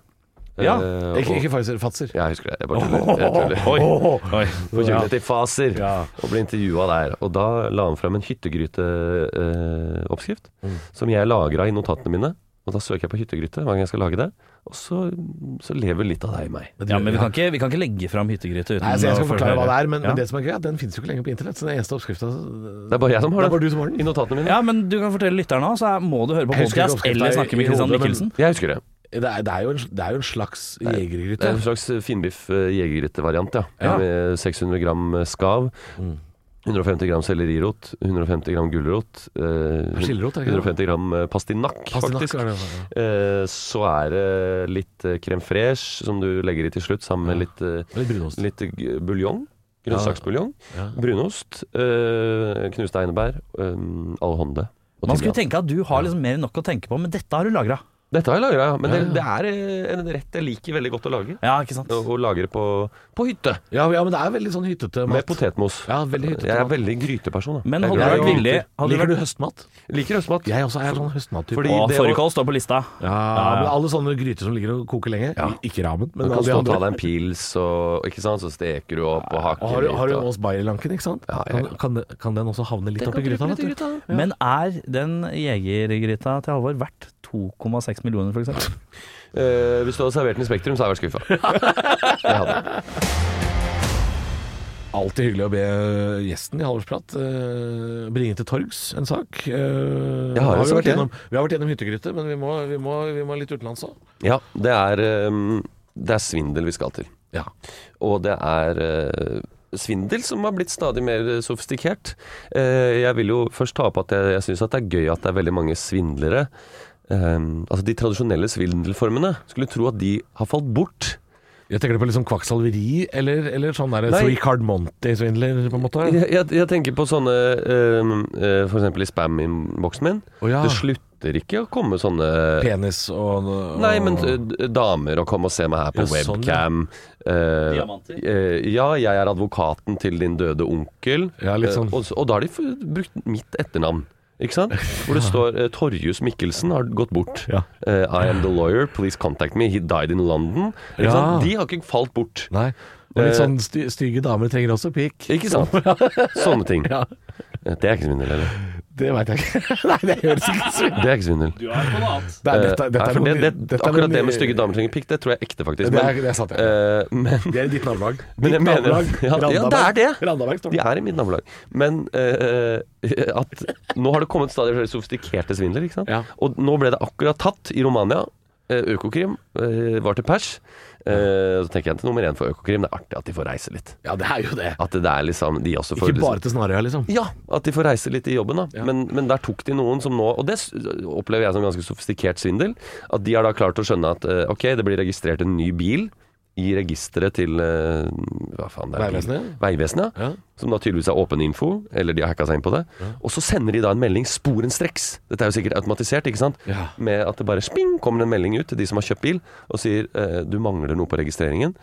Speaker 7: Ja.
Speaker 5: Eh,
Speaker 2: Ikke,
Speaker 5: og-
Speaker 2: ikke Pfizer, Fatser.
Speaker 5: Jeg husker det. Jeg bare tuller. Jeg
Speaker 2: [LAUGHS]
Speaker 7: [LAUGHS]
Speaker 5: tuller. På kjøkkenet til Faser. Og ble intervjua der. Og da la han frem en hyttegryteoppskrift eh, oppskrift,
Speaker 2: Mm.
Speaker 5: som jeg lagra i notatene mine. Og da søker jeg på hyttegryte hver gang jeg skal lage det. Og så, så lever litt av det i meg.
Speaker 7: Ja, men vi kan ikke, vi kan ikke legge fram hyttegryte uten
Speaker 2: Nei, altså, jeg skal
Speaker 7: å
Speaker 2: forklare hva det er, men,
Speaker 7: Ja.
Speaker 2: men det som er gøy, er at den finnes jo ikke lenger på internett. Så den eneste oppskrifta
Speaker 5: Det er bare jeg som
Speaker 2: Det
Speaker 5: har
Speaker 2: er
Speaker 5: det.
Speaker 2: bare du som har den.
Speaker 5: I notatene mine.
Speaker 7: Ja, men du kan fortelle lytterne òg, så er- må du høre på
Speaker 2: Jeg husker ikke
Speaker 7: podcast
Speaker 2: oppskriften
Speaker 7: eller
Speaker 2: i-
Speaker 7: snakke med
Speaker 2: i hodet,
Speaker 7: Christian
Speaker 2: men-
Speaker 7: Michelsen.
Speaker 5: Jeg husker det.
Speaker 2: Det er, det, er jo en, det er jo en slags
Speaker 5: Det
Speaker 2: jegergryte.
Speaker 5: er en slags finbiff eh, jegergrytevariant, ja.
Speaker 2: Ja.
Speaker 5: Med 600 gram eh, skav. 150 gram sellerirot, 150 gram gulrot, eh,
Speaker 2: Persillerot, er det ikke det?
Speaker 5: 150 gram eh, pastinakk, faktisk.
Speaker 2: er det, ja.
Speaker 5: Eh, så er det litt eh, crème fraîche som du legger i til slutt, sammen med litt, eh,
Speaker 2: Litt brunost.
Speaker 5: litt g- buljong. Grønnsaksbuljong.
Speaker 2: Ja.
Speaker 5: Brunost. eh, knuste einebær. Um, Alhonde. og
Speaker 7: Man skulle
Speaker 5: timian.
Speaker 7: tenke at du har liksom mer enn nok å tenke på, men dette har du lagra.
Speaker 5: Dette har jeg lagra, ja. Men Det, det er eh, en rett jeg liker veldig godt å lage.
Speaker 7: Ja, ikke sant?
Speaker 5: Å å lagre på, på hytte
Speaker 2: Ja, ja, men det er veldig sånn hyttete mat.
Speaker 5: med potetmos.
Speaker 2: Ja, veldig hyttete
Speaker 5: jeg er
Speaker 2: mat.
Speaker 5: veldig gryteperson. da.
Speaker 7: Men
Speaker 5: Jeg er
Speaker 7: hadde
Speaker 5: glad
Speaker 7: du vært
Speaker 5: i
Speaker 7: villig
Speaker 5: gryter.
Speaker 7: hadde du
Speaker 2: Liker
Speaker 7: vært-
Speaker 2: du høstmat?
Speaker 5: Liker høstmat.
Speaker 2: Jeg også er sånn høstmattype.
Speaker 5: Fordi-
Speaker 7: Å,
Speaker 5: det å-
Speaker 7: Fårikål står på lista.
Speaker 2: Ja, men alle sånne gryter som ligger og koker lenge. Ikke ramen,
Speaker 5: Du
Speaker 2: men
Speaker 5: kan
Speaker 2: alle de
Speaker 5: stå og ta
Speaker 2: andre.
Speaker 5: deg en pils, og, ikke sant? så steker du opp og hakker
Speaker 2: Og har du, har du
Speaker 5: litt. og-
Speaker 2: Ås Bayer-lanken, ikke sant?
Speaker 5: Ja, ja,
Speaker 2: kan,
Speaker 5: ja.
Speaker 2: kan, den- kan den også havne litt oppi gryta? vet du?
Speaker 7: Men er den jegergryta til Halvor verdt 2,6 millioner, for eksempel?
Speaker 2: [LAUGHS]
Speaker 5: Eh, hvis du hadde servert den i Spektrum, så hadde jeg vært skuffa. Det hadde jeg.
Speaker 2: Alltid hyggelig å be gjesten i Halvorsprat eh, bringe til torgs en sak. Eh,
Speaker 5: Jeg har en
Speaker 2: vi,
Speaker 5: sak,
Speaker 2: vært
Speaker 5: jeg.
Speaker 2: gjennom, vi har vært gjennom hyttegryte, men vi må, vi må, vi må litt utenlands òg.
Speaker 5: Ja, det er, ehm, det er svindel vi skal til.
Speaker 2: Ja.
Speaker 5: Og det er eh, svindel som har blitt stadig mer eh, sofistikert. Eh, jeg vil jo først ta opp at jeg, jeg syns det er gøy at det er veldig mange svindlere. Ehm, altså De tradisjonelle svindelformene skulle tro at de har falt bort.
Speaker 2: Jeg tenker på litt sånn kvakksalveri, eller, eller sånn der
Speaker 5: Nei.
Speaker 2: Three Card Monty-svindler, på en måte.
Speaker 5: Jeg, jeg, jeg tenker på sånne ehm, eh, For eksempel i spam-innboksen min.
Speaker 2: Å ja.
Speaker 5: Det slutter ikke å komme sånne
Speaker 2: Penis og, og
Speaker 5: Nei, men eh, d- damer, og kom og se meg her på
Speaker 2: Ja, sånn, ja.
Speaker 5: webcam. Eh,
Speaker 7: Diamanter.
Speaker 5: eh, ja, jeg er advokaten til din døde onkel.
Speaker 2: Ja, litt sånn.
Speaker 5: Eh, og, s- og da har de f- brukt mitt etternavn. Ikke
Speaker 2: [LAUGHS]
Speaker 5: sant? Hvor det står eh, Torjus Mikkelsen har gått bort.
Speaker 2: Ja.
Speaker 5: Eh, I am the lawyer, please contact me. He died in London. Ikke
Speaker 2: Ja.
Speaker 5: sant? De har ikke falt bort.
Speaker 2: Nei. Og litt
Speaker 5: Eh,
Speaker 2: sånn sty stygge damer trenger også pikk.
Speaker 5: Ikke sant?
Speaker 2: [LAUGHS]
Speaker 5: Sånne ting.
Speaker 2: Sånn. Ja.
Speaker 5: Eh, Det er ikke svindel, eller?
Speaker 2: Det veit jeg ikke. [LAUGHS] Nei, det høres ikke sånn ut.
Speaker 5: Det er ikke svindel.
Speaker 2: Nei, dette-
Speaker 5: Eh,
Speaker 2: dette
Speaker 5: nei,
Speaker 2: er
Speaker 5: for
Speaker 2: noe
Speaker 5: det,
Speaker 2: ny-
Speaker 5: det,
Speaker 2: dette er noe
Speaker 5: akkurat det
Speaker 2: ny-
Speaker 5: med stygge damer trenger pikk, det tror jeg er ekte, faktisk.
Speaker 2: Det er,
Speaker 5: Men,
Speaker 2: det er sant. Ja.
Speaker 5: eh, men
Speaker 2: Det er ditt nabolag.
Speaker 5: Men jeg
Speaker 2: Ditt
Speaker 5: mener-
Speaker 2: nabolag,
Speaker 5: [LAUGHS] Ja, det- ja, det er det.
Speaker 2: Randaberg står
Speaker 5: de
Speaker 2: det.
Speaker 5: er i mitt nabolag. Men eh, at nå har det kommet stadig flere sofistikerte svindler, ikke sant?
Speaker 2: Ja.
Speaker 5: Og nå ble det akkurat tatt i Romania. Eh, Økokrim eh, var til pers. Eh, Så tenker jeg til nummer én for Økokrim, det er artig at de får reise litt.
Speaker 2: Ja, det er jo det.
Speaker 5: At det er liksom de også får
Speaker 2: Ikke
Speaker 5: liksom-
Speaker 2: bare til Snarøya, liksom.
Speaker 5: Ja, at de får reise litt i jobben, da. Men, men der tok de noen som nå Og det s- opplever jeg som ganske sofistikert svindel. At de har da klart å skjønne at eh, ok, det blir registrert en ny bil i registeret til eh, hva faen det er
Speaker 2: Vegvesenet?
Speaker 5: Vegvesenet,
Speaker 2: Ja.
Speaker 5: Som da tydeligvis er åpen info, eller de har hacka seg inn på det. Og så sender de da en melding sporenstreks. Dette er jo sikkert automatisert, ikke sant?
Speaker 2: Ja.
Speaker 5: Med at det bare sping kommer det en melding ut til de som har kjøpt bil, og sier eh, du mangler noe på registreringen.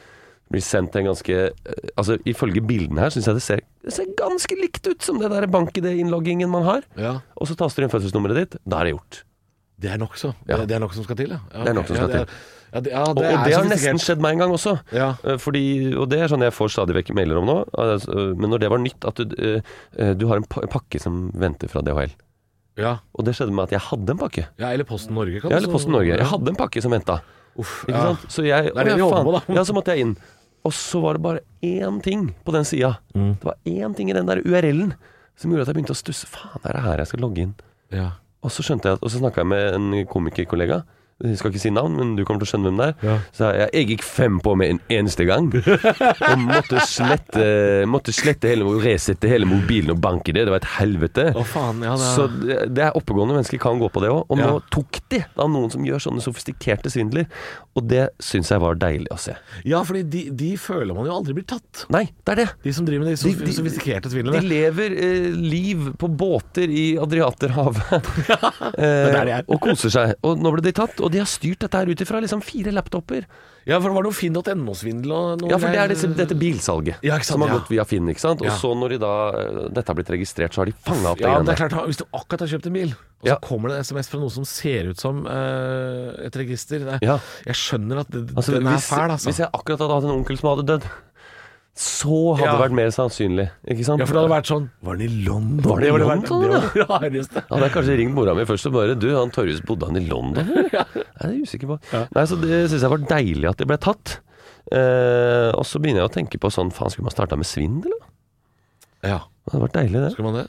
Speaker 5: Blir sendt til en ganske eh, Altså ifølge bildene her syns jeg det ser, det ser ganske likt ut som det der bank-ID-innloggingen man har.
Speaker 2: Ja.
Speaker 5: Og så taster du inn fødselsnummeret ditt. Da er det gjort.
Speaker 2: Det er nokså.
Speaker 5: Ja.
Speaker 2: Det, det er nok som skal til, ja. ja
Speaker 5: Det er nok som
Speaker 2: ok.
Speaker 5: skal
Speaker 2: ja,
Speaker 5: til.
Speaker 2: Ja, det, ja,
Speaker 5: Og,
Speaker 2: det er
Speaker 5: og det har
Speaker 2: sofistikert.
Speaker 5: nesten skjedd meg en gang også.
Speaker 2: Ja.
Speaker 5: Eh, Fordi, og det er sånn jeg får stadig vekk melder om nå. altså, Men når det var nytt, at du, eh, eh, du har en pa- pakke som venter fra DHL.
Speaker 2: Ja.
Speaker 5: Og det skjedde med at jeg hadde en pakke.
Speaker 2: ja, eller Posten Norge, kan
Speaker 5: Ja,
Speaker 2: også-
Speaker 5: eller Posten Norge. Jeg hadde en pakke som venta.
Speaker 2: Uff,
Speaker 5: Ikke sant? Så jeg,
Speaker 2: Det er det
Speaker 5: å,
Speaker 2: vi
Speaker 5: ja,
Speaker 2: håper
Speaker 5: faen.
Speaker 2: på, da.
Speaker 5: Ja, så måtte jeg inn. Og så var det bare én ting på den sida.
Speaker 2: Mm.
Speaker 5: Det var én ting i den der URL-en som gjorde at jeg begynte å stusse. Faen, er det her jeg skal logge inn?
Speaker 2: Ja.
Speaker 5: Og så skjønte jeg at, og så snakka jeg med en komikerkollega. Jeg skal ikke si navn, men du kommer til å skjønne hvem det er.
Speaker 2: Ja.
Speaker 5: Så jeg, jeg gikk fem på med en eneste gang. Og måtte slette, måtte slette hele, resette hele mobilen og banke det. Det var et helvete.
Speaker 2: Å, faen. Ja, det er
Speaker 5: Så det det er oppegående mennesker kan gå på det òg. Og nå
Speaker 2: Ja.
Speaker 5: tok de da noen som gjør sånne sofistikerte svindler. Og det syns jeg var deilig å se.
Speaker 2: Ja, fordi de, de føler man jo aldri blir tatt.
Speaker 5: Nei, det er det.
Speaker 2: De som driver med de, sof
Speaker 5: De- de-
Speaker 2: sofistikerte
Speaker 5: De
Speaker 2: svindlene.
Speaker 5: lever eh, liv på båter
Speaker 2: [LAUGHS]
Speaker 5: i Adriaterhavet
Speaker 2: er der de er.
Speaker 5: eh, og koser seg. Og nå ble de tatt, og de har styrt dette her ut ifra liksom fire laptoper.
Speaker 2: Ja, for det var noe finn.no-svindel og noe
Speaker 5: Ja, for det
Speaker 2: greier.
Speaker 5: er disse, dette bilsalget
Speaker 2: Ja, ikke sant,
Speaker 5: som har
Speaker 2: ja.
Speaker 5: gått via Finn. ikke sant? Og
Speaker 2: Ja.
Speaker 5: så når de da eh, dette har blitt registrert, så har de fanga opp
Speaker 2: Ja, men
Speaker 5: det
Speaker 2: det er
Speaker 5: greiene.
Speaker 2: klart, Hvis du akkurat har kjøpt en bil, og
Speaker 5: Ja.
Speaker 2: så kommer det en SMS fra noe som ser ut som eh, et register Nei,
Speaker 5: Ja.
Speaker 2: Jeg skjønner at det,
Speaker 5: Altså,
Speaker 2: den er
Speaker 5: hvis,
Speaker 2: fæl, altså.
Speaker 5: hvis jeg akkurat hadde hatt en onkel som hadde dødd, så hadde
Speaker 2: Ja.
Speaker 5: det vært mer sannsynlig. ikke sant?
Speaker 2: ja, for det hadde vært sånn Var den i London?
Speaker 5: Var den i
Speaker 2: det vært-
Speaker 5: London,
Speaker 2: det var det [LAUGHS] rareste.
Speaker 5: Ja, det er kanskje ringt mora mi først og bare Du, han Torjus, bodde han i
Speaker 2: [LAUGHS]
Speaker 5: London? eller?» Nei, det er jeg usikker på. Nei, så Det syns jeg var deilig at det ble tatt. Eh, og så begynner jeg å tenke på sånn Faen, skulle man starta med svindel, da?
Speaker 2: Ja,
Speaker 5: Det hadde vært deilig, det.
Speaker 2: skal man det?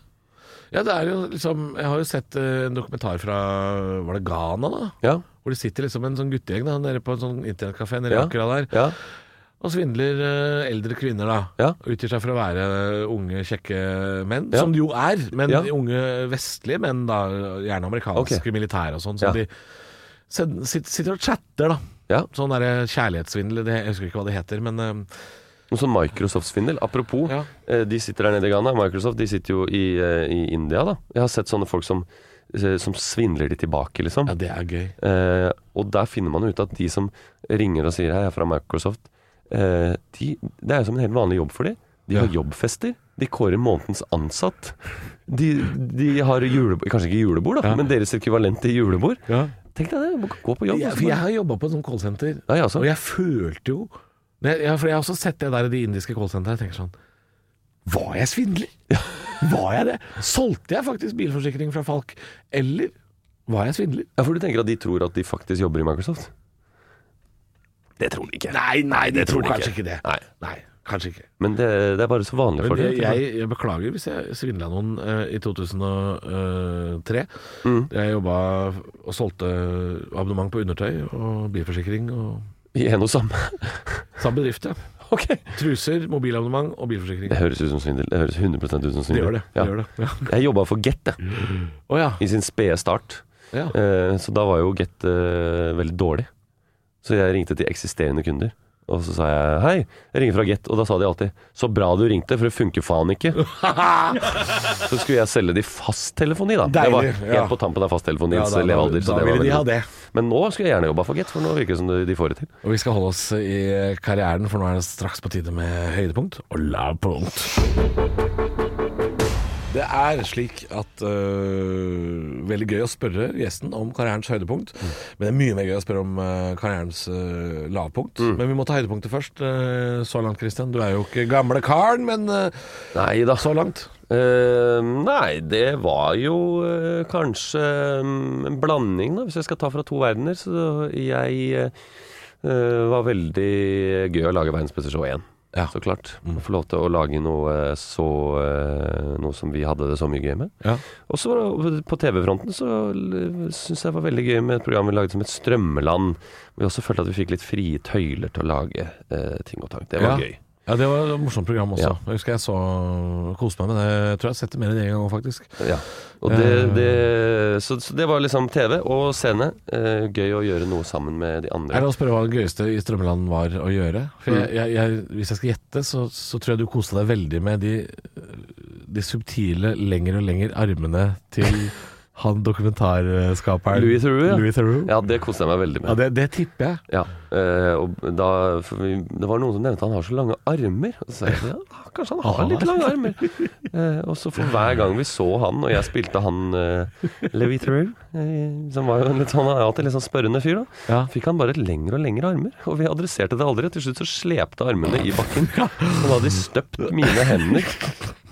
Speaker 2: Ja, det er jo liksom Jeg har jo sett eh, en dokumentar fra Var det Ghana, da?
Speaker 5: Ja.
Speaker 2: Hvor det sitter liksom en sånn guttegjeng da, nede på en sånn internettkafé nede
Speaker 5: Ja.
Speaker 2: akkurat der,
Speaker 5: ja.
Speaker 2: og svindler eh, eldre kvinner, da.
Speaker 5: Ja.
Speaker 2: Utgir seg for å være eh, unge, kjekke menn,
Speaker 5: Ja.
Speaker 2: som de jo er, men
Speaker 5: Ja.
Speaker 2: unge vestlige menn, da, gjerne amerikanske
Speaker 5: Ok.
Speaker 2: militære og sånn,
Speaker 5: Ja.
Speaker 2: som de send- sit- sitter og chatter, da.
Speaker 5: Ja.
Speaker 2: Sånn derre kjærlighetssvindel, det, jeg husker ikke hva det heter, men eh,
Speaker 5: Noe sånn Microsoft-svindel. Apropos,
Speaker 2: Ja.
Speaker 5: eh, de sitter der nede i Ghana. Microsoft de sitter jo i, eh, i India, da. Jeg har sett sånne folk som, eh, som svindler de tilbake, liksom.
Speaker 2: ja, det er gøy.
Speaker 5: Eh, og der finner man ut at de som ringer og sier hei, jeg er fra Microsoft, eh, de, det er jo som en helt vanlig jobb for dem. De har jobbfester. De kårer månedens ansatt. De, de har julebord Kanskje ikke julebord, da, men deres ekvivalent til julebord. Tenk deg det. må Gå på jobb. altså.
Speaker 2: Jeg, for jeg har jobba på et sånt callsenter,
Speaker 5: Ja, altså. jeg også.
Speaker 2: og jeg følte jo jeg, jeg, For jeg har også sett det der i de indiske callsentrene. Jeg tenker sånn Var jeg svindler? Var jeg det? Solgte jeg faktisk bilforsikring fra Falk? Eller var jeg svindler?
Speaker 5: ja, for du tenker at de tror at de faktisk jobber i Microsoft? Det tror de ikke.
Speaker 2: Nei, nei, det
Speaker 5: tror
Speaker 2: tror
Speaker 5: de
Speaker 2: kanskje ikke det.
Speaker 5: Nei.
Speaker 2: Nei, kanskje ikke.
Speaker 5: Men det, det er bare så vanlig
Speaker 2: Men
Speaker 5: for
Speaker 2: jeg,
Speaker 5: dem. [LAUGHS]
Speaker 2: jeg, jeg beklager hvis jeg svindla noen eh, i 2003. eh,
Speaker 5: Mm.
Speaker 2: Jeg jobba og solgte abonnement på undertøy og bilforsikring. Og
Speaker 5: I en og samme. [LAUGHS]
Speaker 2: samme bedrift, ja.
Speaker 5: Ok.
Speaker 2: Truser, mobilabonnement og bilforsikring.
Speaker 5: Det høres ut som svindel. Det høres 100 ut som svindel.
Speaker 2: Det gjør det. det, gjør
Speaker 5: Ja.
Speaker 2: det. Ja.
Speaker 5: Jeg jobba for Get, jeg.
Speaker 2: Å ja.
Speaker 5: I sin spede start.
Speaker 2: ja.
Speaker 5: Eh, Så da var jo Get eh, veldig dårlig. Så jeg ringte til eksisterende kunder. Og så sa jeg hei, jeg ringer fra Get. Og da sa de alltid så bra du ringte, for det funker faen
Speaker 2: [LAUGHS]
Speaker 5: ikke. så skulle jeg selge de fasttelefoni, da. jeg var
Speaker 2: Deilig,
Speaker 5: helt
Speaker 2: ja.
Speaker 5: på tampen av
Speaker 2: Ja,
Speaker 5: fasttelefoniens
Speaker 2: da-
Speaker 5: levealder.
Speaker 2: da-
Speaker 5: så
Speaker 2: da
Speaker 5: det var
Speaker 2: ville de
Speaker 5: veldig
Speaker 2: ha
Speaker 5: bra.
Speaker 2: det.
Speaker 5: Men nå skulle jeg gjerne jobba for Get, for nå virker det som de- de får det til.
Speaker 2: Og vi skal holde oss i karrieren, for nå er det straks på tide med høydepunkt og lavpunkt. Det er slik at øh, Veldig gøy å spørre gjesten om karrierens høydepunkt. Men det er mye mer gøy å spørre om øh, karrierens øh, lavpunkt. Men vi må ta høydepunktet først. øh, så langt, Christian. Du er jo ikke gamle karen, men øh,
Speaker 5: Nei da.
Speaker 2: så langt.
Speaker 5: Eh, nei, det var jo eh, kanskje mm, en blanding, da, hvis jeg skal ta fra to verdener. Så jeg eh, eh, var veldig gøy å lage Verdens beste show igjen.
Speaker 2: Ja. Mm.
Speaker 5: Så klart. Å få lov til å lage noe eh, så eh, Noe som vi hadde det så mye gøy med.
Speaker 2: Ja.
Speaker 5: Og så var det- på TV-fronten så syns jeg var veldig gøy med et program vi lagde som het Strømmeland. Vi også følte at vi fikk litt frie tøyler til å lage eh, ting og tang. Det var
Speaker 2: Ja.
Speaker 5: gøy.
Speaker 2: Ja, Det var et morsomt program også.
Speaker 5: Ja.
Speaker 2: Jeg husker jeg så koste meg med det. Jeg tror jeg har sett det mer enn én gang òg, faktisk.
Speaker 5: Ja. Og
Speaker 2: Eh.
Speaker 5: det, det, så, så det var liksom TV og scene. Eh, gøy å gjøre noe sammen med de
Speaker 2: Er
Speaker 5: andre.
Speaker 2: det å spørre hva det gøyeste i Strømmeland var å gjøre? For jeg, jeg, jeg, hvis jeg skal gjette, så, så tror jeg du koste deg veldig med de, de subtile lenger og lenger armene til [LAUGHS] han dokumentarskaperen
Speaker 5: Louis Theroux, ja.
Speaker 2: Louis Theroux. Ja.
Speaker 5: Ja, det koste jeg meg veldig med.
Speaker 2: det, det tipper jeg.
Speaker 5: Ja, eh, og da, for vi, Det var noen som nevnte han har så lange armer. Og så sa jeg ja, kanskje
Speaker 2: Ah,
Speaker 5: han har litt lange armer. Eh, og så for hver gang vi så han, og jeg spilte han uh,
Speaker 2: [LAUGHS]
Speaker 5: Levi Theroux, eh, som var jo en litt sånn han er alltid litt sånn spørrende fyr, da,
Speaker 2: Ja.
Speaker 5: fikk han bare et lengre og lengre armer. Og vi adresserte det aldri. Til slutt så slepte armene i bakken. Og da hadde de støpt mine hender,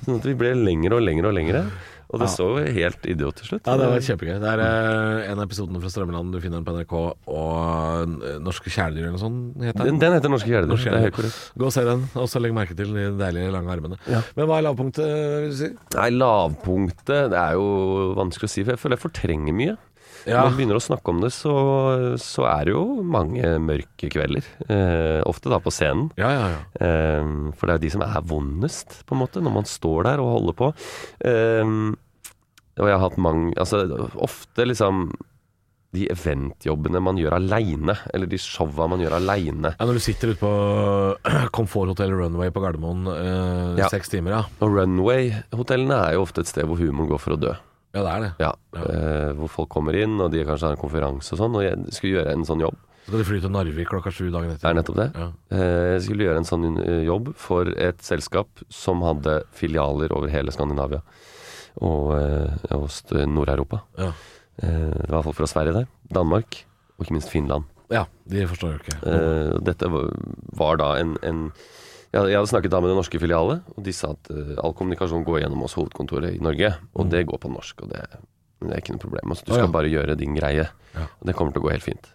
Speaker 5: sånn at vi ble lengre og lengre og lengre. Og det så jo helt idiot til slutt.
Speaker 2: Ja, det var kjempegøy. Det er eh, en av episodene fra Strømmeland du finner den på NRK, og eh, Norske kjæledyr eller noe sånt heter
Speaker 5: den, den heter Norske Kjæledyr.
Speaker 2: Norske
Speaker 5: Det er
Speaker 2: kjæledyr.
Speaker 5: helt korrekt.
Speaker 2: Gå og se den, og så legg merke til de deilige lange armene. Men hva er lavpunktet, vil du si?
Speaker 5: Nei, lavpunktet Det er jo vanskelig å si, for jeg føler jeg fortrenger mye.
Speaker 2: Ja.
Speaker 5: Når man begynner å snakke om det, så, så er det jo mange mørke kvelder. Eh, ofte da på scenen.
Speaker 2: Ja, ja, ja.
Speaker 5: Eh, for det er jo de som er vondest, på en måte, når man står der og holder på. Eh, og jeg har hatt mange Altså, ofte liksom de eventjobbene man gjør aleine, eller de showa man gjør aleine.
Speaker 2: Ja, Når du sitter ute på [CLEARS THROAT] Comfort Hotel Runway på Gardermoen eh,
Speaker 5: Ja.
Speaker 2: seks timer, ja.
Speaker 5: Og runway-hotellene er jo ofte et sted hvor humoren går for å dø.
Speaker 2: Ja, det er det.
Speaker 5: Ja,
Speaker 2: Ja.
Speaker 5: eh, hvor folk kommer inn, og de kanskje har en konferanse og sånn. Og jeg skulle gjøre en sånn jobb.
Speaker 2: Så skal de fly til Narvik klokka sju dagen
Speaker 5: Det
Speaker 2: etter.
Speaker 5: er nettopp det.
Speaker 2: Ja.
Speaker 5: Eh, jeg skulle gjøre en sånn eh, jobb for et selskap som hadde filialer over hele Skandinavia og, eh, og st- Nord-Europa.
Speaker 2: Ja.
Speaker 5: Eh, det var folk fra Sverige der, Danmark og ikke minst Finland.
Speaker 2: ja, de forstår jo ikke.
Speaker 5: Eh, og dette var, var da en, en jeg, jeg hadde snakket da med det norske filialet, og de sa at eh, all kommunikasjon går gjennom oss hovedkontoret i Norge, og det går på norsk, og det, det er ikke noe problem. Altså, du
Speaker 2: Mm. Å,
Speaker 5: skal
Speaker 2: ja.
Speaker 5: bare gjøre din greie,
Speaker 2: Ja.
Speaker 5: og det kommer til å gå helt fint.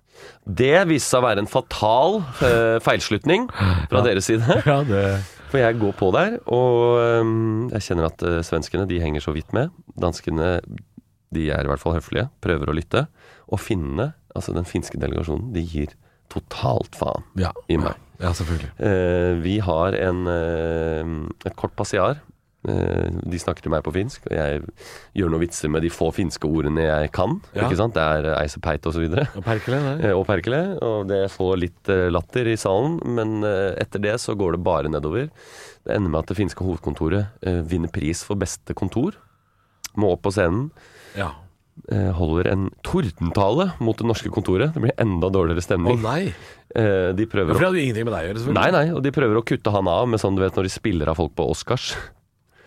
Speaker 5: Det viste seg å være en fatal eh, feilslutning fra deres side.
Speaker 2: Ja, det
Speaker 5: [LAUGHS] For jeg går på der, og øhm, jeg kjenner at øh, svenskene de henger så vidt med. Danskene de er i hvert fall høflige, prøver å lytte. Og finnene, altså den finske delegasjonen, de gir totalt faen.
Speaker 2: ja.
Speaker 5: I meg.
Speaker 2: Ja, selvfølgelig.
Speaker 5: Eh, vi har en, eh, et kort passiar. Eh, de snakker til meg på finsk, og jeg gjør noen vitser med de få finske ordene jeg kan.
Speaker 2: Ja.
Speaker 5: Ikke sant? Det er eh, eisepeite og så videre.
Speaker 2: Og Perkele, det.
Speaker 5: Eh, og Perkele, og det får litt eh, latter i salen, men eh, etter det så går det bare nedover. Det ender med at det finske hovedkontoret eh, vinner pris for beste kontor. Må opp på scenen,
Speaker 2: Ja.
Speaker 5: eh, holder en tordentale mot det norske kontoret. Det blir enda dårligere
Speaker 2: Å
Speaker 5: stemning.
Speaker 2: nei!
Speaker 5: Eh, De
Speaker 2: Ja, For
Speaker 5: prøver
Speaker 2: det
Speaker 5: å
Speaker 2: hadde jo ingenting med deg å gjøre, selvfølgelig.
Speaker 5: Nei, nei, og de prøver å kutte han av med sånn du vet når de spiller av folk på Oscars.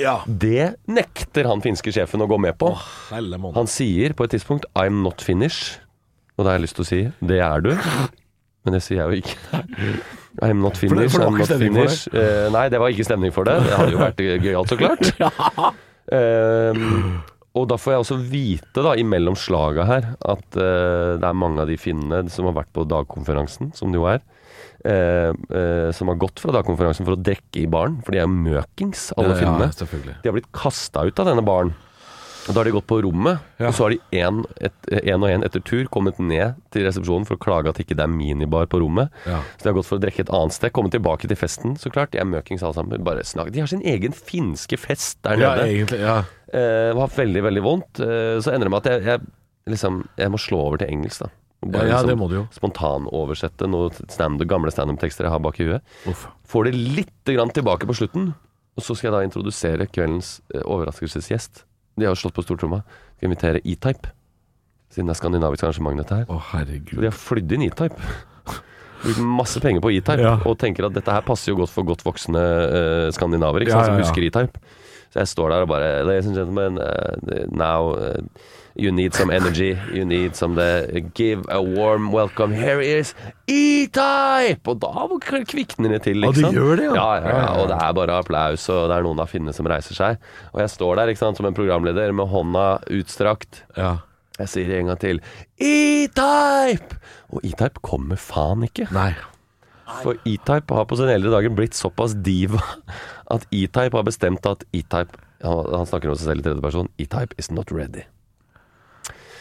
Speaker 2: Ja.
Speaker 5: Det nekter han finske sjefen å gå med på.
Speaker 2: Helle måned.
Speaker 5: Han sier på et tidspunkt 'I'm not Finnish'. Og da har jeg lyst til å si 'det er du', men det sier jeg jo ikke. I'm not
Speaker 2: det-
Speaker 5: Finnish,
Speaker 2: for det var
Speaker 5: I'm
Speaker 2: ikke
Speaker 5: not
Speaker 2: stemning for det?
Speaker 5: Finnish. Eh, nei, det var ikke stemning for det. Det hadde jo vært gøyalt, så klart.
Speaker 2: [LAUGHS]
Speaker 5: Eh, og da får jeg også vite, da, imellom slaga her, at eh, det er mange av de finnene som har vært på dagkonferansen, som det jo er, eh, eh, som har gått fra dagkonferansen for å drikke i baren, for de er jo møkings, alle finnene.
Speaker 2: Ja, selvfølgelig.
Speaker 5: De har blitt kasta ut av denne baren. Og Da har de gått på rommet,
Speaker 2: Ja.
Speaker 5: og så har de en, et, en og en etter tur kommet ned til resepsjonen for å klage at ikke det er minibar på rommet.
Speaker 2: Ja.
Speaker 5: Så de har gått for å drikke et annet sted, kommet tilbake til festen. Så klart, de er møkings alle sammen. Bare snakk. De har sin egen finske fest der
Speaker 2: Ja,
Speaker 5: nede.
Speaker 2: egentlig. Ja.
Speaker 5: Eh, var veldig, veldig vondt. Eh, så ender det med at jeg, jeg liksom Jeg må slå over til engelsk, da. Og
Speaker 2: Ja,
Speaker 5: Bare
Speaker 2: ja,
Speaker 5: liksom
Speaker 2: det må du jo.
Speaker 5: spontanoversette noen stand gamle standup-tekster jeg har bak i huet.
Speaker 2: Uff.
Speaker 5: Får det litt grann tilbake på slutten, og så skal jeg da introdusere kveldens eh, overraskelsesgjest. De har jo slått på stortromma. Skal invitere E-Type, siden det er skandinavisk arrangement, dette her.
Speaker 2: Å,
Speaker 5: Og
Speaker 2: herregud.
Speaker 5: de har flydd inn E-Type. brukt masse penger på E-Type
Speaker 2: Ja.
Speaker 5: og tenker at dette her passer jo godt for godt voksne eh, skandinaver ikke
Speaker 2: Ja,
Speaker 5: sant,
Speaker 2: ja, ja.
Speaker 5: som husker E-Type. Så jeg står der og bare Ladies and gentlemen, eh, now eh, you need some energy. You need some the, Give a warm welcome. Here is E-Type! Og da kvikner det til,
Speaker 2: Ja,
Speaker 5: ikke
Speaker 2: de
Speaker 5: sant?
Speaker 2: gjør det, ja.
Speaker 5: ja, ja, ja.
Speaker 2: Ja, ja, ja.
Speaker 5: Og det er bare applaus, og det er noen av finnene som reiser seg. Og jeg står der ikke sant, som en programleder med hånda utstrakt.
Speaker 2: Ja.
Speaker 5: Jeg sier det en gang til. E-Type! Og E-Type kommer faen ikke.
Speaker 2: Nei.
Speaker 5: For E-Type har på sine eldre dager blitt såpass diva [LAUGHS] at E-Type har bestemt at E-Type han, han snakker om seg selv i tredje person. E-Type is not ready.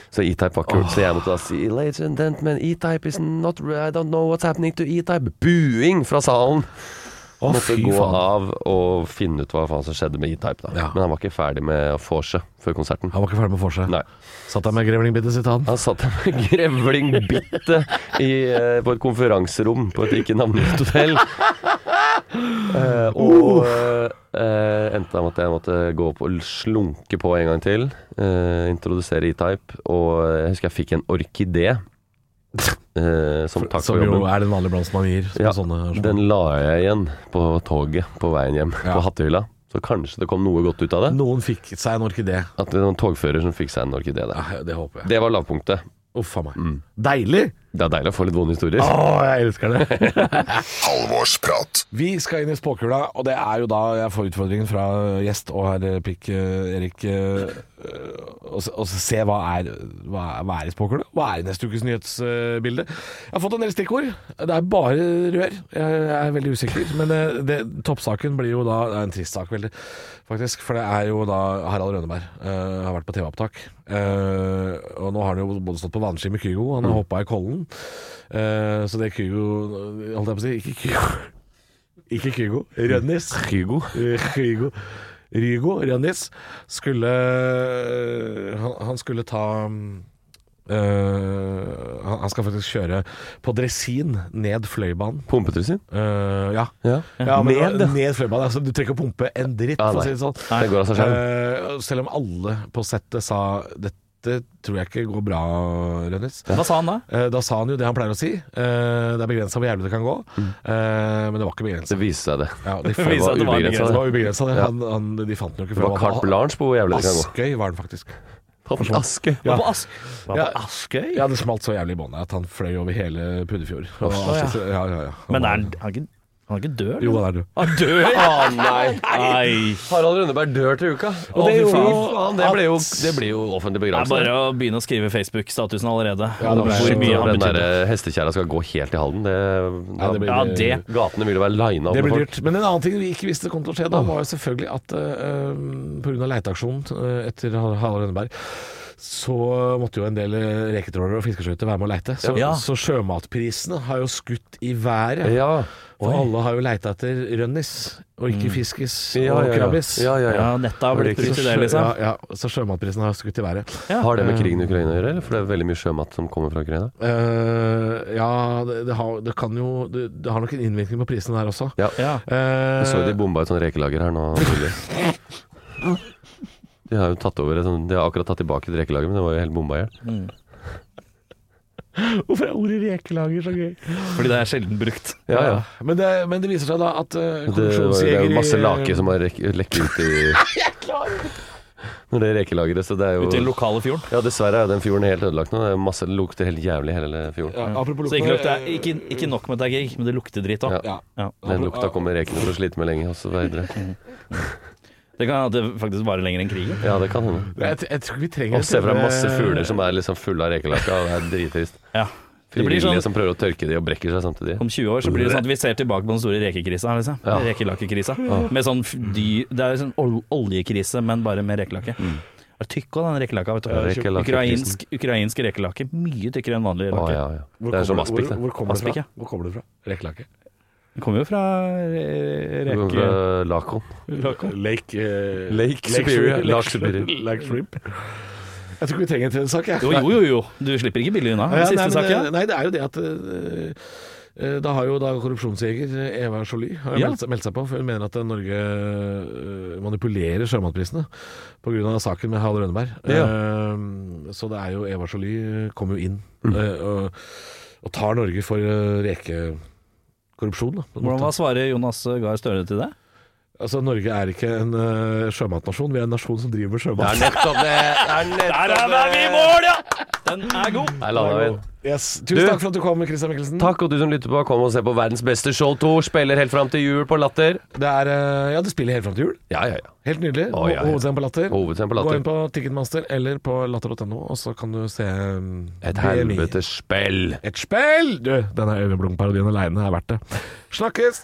Speaker 5: Så E-Type var kult, så jeg måtte da si Ladies and gentlemen, E-Type is not ready. I don't know what's happening to E-Type. Buing fra salen!
Speaker 2: Å,
Speaker 5: måtte
Speaker 2: fy
Speaker 5: gå
Speaker 2: faen.
Speaker 5: av og finne ut hva faen som skjedde med E-Type. da
Speaker 2: Ja.
Speaker 5: Men han var ikke ferdig med å forse før konserten.
Speaker 2: Han var ikke ferdig med for seg.
Speaker 5: Nei.
Speaker 2: Satt der med grevlingbitte sitt, han.
Speaker 5: Han satt der med [LAUGHS] grevlingbitte i, eh, på et konferanserom på et ikke navngitt hotell. Eh, og eh, endte med at jeg måtte gå opp og slunke på en gang til. eh, introdusere E-Type. Og eh, jeg husker jeg fikk en orkidé eh, som takk
Speaker 2: Som
Speaker 5: for
Speaker 2: jo
Speaker 5: jobben.
Speaker 2: er den vanlige blomsten man gir. på
Speaker 5: Ja,
Speaker 2: sånne arrangementer.
Speaker 5: Den la jeg igjen på toget på veien hjem,
Speaker 2: Ja.
Speaker 5: på hattehylla. Så kanskje det kom noe godt ut av det.
Speaker 2: Noen fikk seg en orkidé.
Speaker 5: At det er noen togfører som fikk seg en orkidé
Speaker 2: Ja,
Speaker 5: der.
Speaker 2: det håper jeg.
Speaker 5: Det var lavpunktet.
Speaker 2: Uff a meg. Mm. Deilig!
Speaker 5: Det er deilig å få litt vonde historier.
Speaker 2: Å, jeg elsker det.
Speaker 3: Halvorsprat.
Speaker 2: Vi skal inn i spåkula, og det er jo da jeg får utfordringen fra gjest og herr Pikk eh, Erik. eh, Og s- og s- se hva er, hva, er- hva er i spåkula? Hva er i neste ukes nyhetsbilde? Jeg har fått en del stikkord. Det er bare rør. Jeg er veldig usikker. Men eh, det, toppsaken blir jo da Det er en trist sak, veldig, faktisk. For det er jo da Harald Rønneberg eh, har vært på TV-opptak. Eh, og nå har han jo både stått på vannski med Kygo, han har hoppa i Kollen. Eh, så det Kygo Holdt jeg på å si. Ikke Kygo. Ikke Kygo. Rønnis. Kygo. Kygo. Rygo Rønnis skulle eh, Han, han skulle ta mm, øh, han, han skal faktisk kjøre på dresin ned Fløibanen.
Speaker 5: Pumpetrusin?
Speaker 2: Øh, ja.
Speaker 5: Ja.
Speaker 2: ja men,
Speaker 5: Ned, ja.
Speaker 2: ned Fløibanen. Altså, du trenger ikke å pumpe en dritt,
Speaker 5: Ja,
Speaker 2: for å
Speaker 5: nei.
Speaker 2: si det sånn.
Speaker 5: Det går av seg selv.
Speaker 2: Eh, selv om alle på settet sa dette tror jeg ikke går bra, Rønnis.
Speaker 7: Hva sa han da?
Speaker 2: Eh, Da sa han jo det han pleier å si. Eh, Det er begrensa hvor jævlig det kan gå. Eh, Men det var ikke begrensa.
Speaker 5: Mm. Det viste seg det.
Speaker 2: Ja,
Speaker 5: [LAUGHS]
Speaker 2: de,
Speaker 5: Det
Speaker 7: viser
Speaker 5: var
Speaker 7: at det var
Speaker 5: ubegrenset.
Speaker 2: det
Speaker 5: Det
Speaker 2: var ubegrensa, det.
Speaker 5: Ja.
Speaker 2: Han, han, de fant den jo ikke
Speaker 5: Det
Speaker 2: før.
Speaker 5: var carte blanche på hvor jævlig det kan gå.
Speaker 2: Askøy var den faktisk.
Speaker 5: Faen, Aske.
Speaker 2: Ja.
Speaker 7: Var på Ask var
Speaker 2: Ja.
Speaker 7: på Askøy?
Speaker 2: Ja, det smalt så jævlig i båndet at han fløy over hele Puddefjord. Og
Speaker 7: ja.
Speaker 2: alt- ja, ja, ja. Han
Speaker 7: Men er
Speaker 2: var-
Speaker 7: han, han, er ikke, han er ikke død?
Speaker 2: Jo,
Speaker 7: eller?
Speaker 2: han er død.
Speaker 7: Han dør?
Speaker 5: Å, nei.
Speaker 7: Nei.
Speaker 5: Harald Rønneberg dør til uka.
Speaker 2: Og
Speaker 5: Å,
Speaker 2: det
Speaker 5: fy
Speaker 2: gjorde
Speaker 5: faen.
Speaker 2: jo altså.
Speaker 5: det, ble jo,
Speaker 2: at-
Speaker 5: det ble jo offentlig
Speaker 7: Det er bare
Speaker 5: begravelse.
Speaker 7: å begynne å skrive Facebook-statusen allerede.
Speaker 2: Ja, det
Speaker 7: om
Speaker 2: ble-
Speaker 7: hvor mye han
Speaker 5: Den
Speaker 7: betydde.
Speaker 5: derre hestekjerra skal gå helt i Halden. Det,
Speaker 2: Nei, det blir-
Speaker 7: Ja, det
Speaker 5: Gatene vil jo være lina opp
Speaker 2: Det
Speaker 5: med
Speaker 2: blir
Speaker 5: folk.
Speaker 2: dyrt. Men en annen ting vi ikke visste kom til å skje da, var jo selvfølgelig at eh, pga. leiteaksjonen eh, etter Har- Harald Rønneberg, så måtte jo en del eh, reketrålere og fiskeskøyter være med å leite. Så,
Speaker 7: Ja.
Speaker 2: så sjømatprisene har jo skutt i været.
Speaker 5: Ja.
Speaker 2: For alle har jo leita etter rønnis, og ikke fiskis
Speaker 5: Mm. Ja,
Speaker 2: og
Speaker 5: ja, ja.
Speaker 2: krabbis.
Speaker 5: ja, ja,
Speaker 7: Ja,
Speaker 5: ja.
Speaker 7: nettet har blitt brukt
Speaker 2: Så,
Speaker 7: til det,
Speaker 2: sjø-
Speaker 7: liksom.
Speaker 2: ja, ja, så sjømatprisen har skutt i været.
Speaker 5: Har det med krigen i Ukraina å gjøre? eller? For det er veldig mye sjømat som kommer fra Ukraina.
Speaker 2: Eh, ja, det, det, har, det kan jo det, det har nok en innvirkning på prisen der også.
Speaker 5: Ja.
Speaker 7: Ja.
Speaker 2: Eh,
Speaker 5: Jeg så de bomba et sånt rekelager her nå nylig. De har jo tatt over et sånt, De har akkurat tatt tilbake et rekelager, men det var jo helt bomba i hjel.
Speaker 2: hvorfor er ordet rekelager så gøy?
Speaker 7: Fordi det er sjelden brukt.
Speaker 5: Ja, ja.
Speaker 2: Men, det, men det viser seg da at uh,
Speaker 5: Det, var, det er jo masse lake
Speaker 2: som
Speaker 5: som har rek- lekket ut i Når det rekelageret, så det er
Speaker 7: Ute i den
Speaker 5: jo
Speaker 7: lokale fjorden.
Speaker 5: Ja, dessverre er den fjorden helt ødelagt nå. Det er masse, det lukter helt jævlig hele fjorden.
Speaker 2: ja, Apropos
Speaker 7: Så ikke,
Speaker 2: lukta
Speaker 7: lukter, ikke, ikke nok med at det er gig, men det lukter dritt òg.
Speaker 5: Ja.
Speaker 2: ja.
Speaker 7: Ja.
Speaker 5: Den lukta kommer rekene til å slite med lenge. Og så videre.
Speaker 7: Det kan hende at det faktisk varer lenger enn krigen.
Speaker 5: ja, det kan hende.
Speaker 2: Jeg, jeg tror ikke vi trenger eh,
Speaker 5: Og se for deg masse fugler som er liksom fulle av rekelaker, og det er drittrist.
Speaker 7: Ja. Det blir
Speaker 5: Frivillige
Speaker 7: sånn,
Speaker 5: som prøver å tørke de og brekker seg samtidig.
Speaker 7: om 20 år så blir det sånn at vi ser tilbake på den store rekekrisa. Liksom. Rekelakekrisa. Med sånn f- dy, det er jo sånn ol- oljekrise, men bare med rekelake.
Speaker 2: Mm.
Speaker 7: Det er Tykk òg, den rekelaka. Vet du.
Speaker 5: Ja, rekelakekrisen.
Speaker 7: ukrainsk, ukrainsk rekelake. Mye tykkere enn vanlig
Speaker 5: Å,
Speaker 7: lake.
Speaker 5: ja, ja. Det er som Aspik,
Speaker 2: Hvor,
Speaker 5: det.
Speaker 2: hvor, kommer det
Speaker 7: Aspik, ja.
Speaker 2: fra? hvor kommer det fra? Rekelake?
Speaker 7: Den kommer jo fra re-
Speaker 5: Det kommer
Speaker 7: reke...
Speaker 5: fra Lakon.
Speaker 7: Lake.
Speaker 2: Lake, eh,
Speaker 5: Lake Superior,
Speaker 2: Shrimp-
Speaker 5: Lake
Speaker 2: Shrimp-
Speaker 5: Superior.
Speaker 2: Lake Shrimp. Jeg tror ikke vi trenger en tredje sak. Jeg.
Speaker 7: Jo, jo, jo, jo. Du slipper ikke billig unna.
Speaker 2: Ja, ja,
Speaker 7: Den
Speaker 2: nei,
Speaker 7: siste
Speaker 2: men,
Speaker 7: saken.
Speaker 2: eh, Nei, det er jo det at eh, eh, da har jo da korrupsjonsjeger eh, Eva Joly har jo
Speaker 7: Ja.
Speaker 2: meldt, seg- meldt seg på, for hun mener at eh, Norge eh, manipulerer sjømatprisene pga. saken med Harald Rønneberg. Eh, så det er jo Eva Joly eh, kom jo inn eh, og og tar Norge for eh, rekekorrupsjon. Da, på en
Speaker 7: Hvordan
Speaker 2: måte.
Speaker 7: hva svarer Jonas Gahr Støre til det?
Speaker 2: Altså, Norge er ikke en eh, sjømatnasjon, vi er en nasjon som driver med
Speaker 5: Det er
Speaker 2: sjømat.
Speaker 5: nettopp det. det, er nettopp det.
Speaker 7: mål, ja! Den er god.
Speaker 5: Der landa vi.
Speaker 2: Yes.
Speaker 5: Du-
Speaker 2: Tusen takk for at du kom, Christian Mikkelsen.
Speaker 5: Mm. Takk, og du som lytter på, kom og se på verdens beste show 2. Spiller helt fram til jul på Latter.
Speaker 2: Det er, eh, ja, det spiller helt fram til jul.
Speaker 5: Ja, ja, ja.
Speaker 2: Helt nydelig.
Speaker 5: Å, ja, ja.
Speaker 2: Hovedscenen på Latter.
Speaker 5: Hovedscenen på Latter.
Speaker 2: Gå inn på Ticketmaster eller på latter.no, og så kan du se um,
Speaker 5: Et
Speaker 2: BMI.
Speaker 5: helvetes spill.
Speaker 2: Et spill! Du, denne Øyeblom-parodien aleine er verdt det. Snakkes!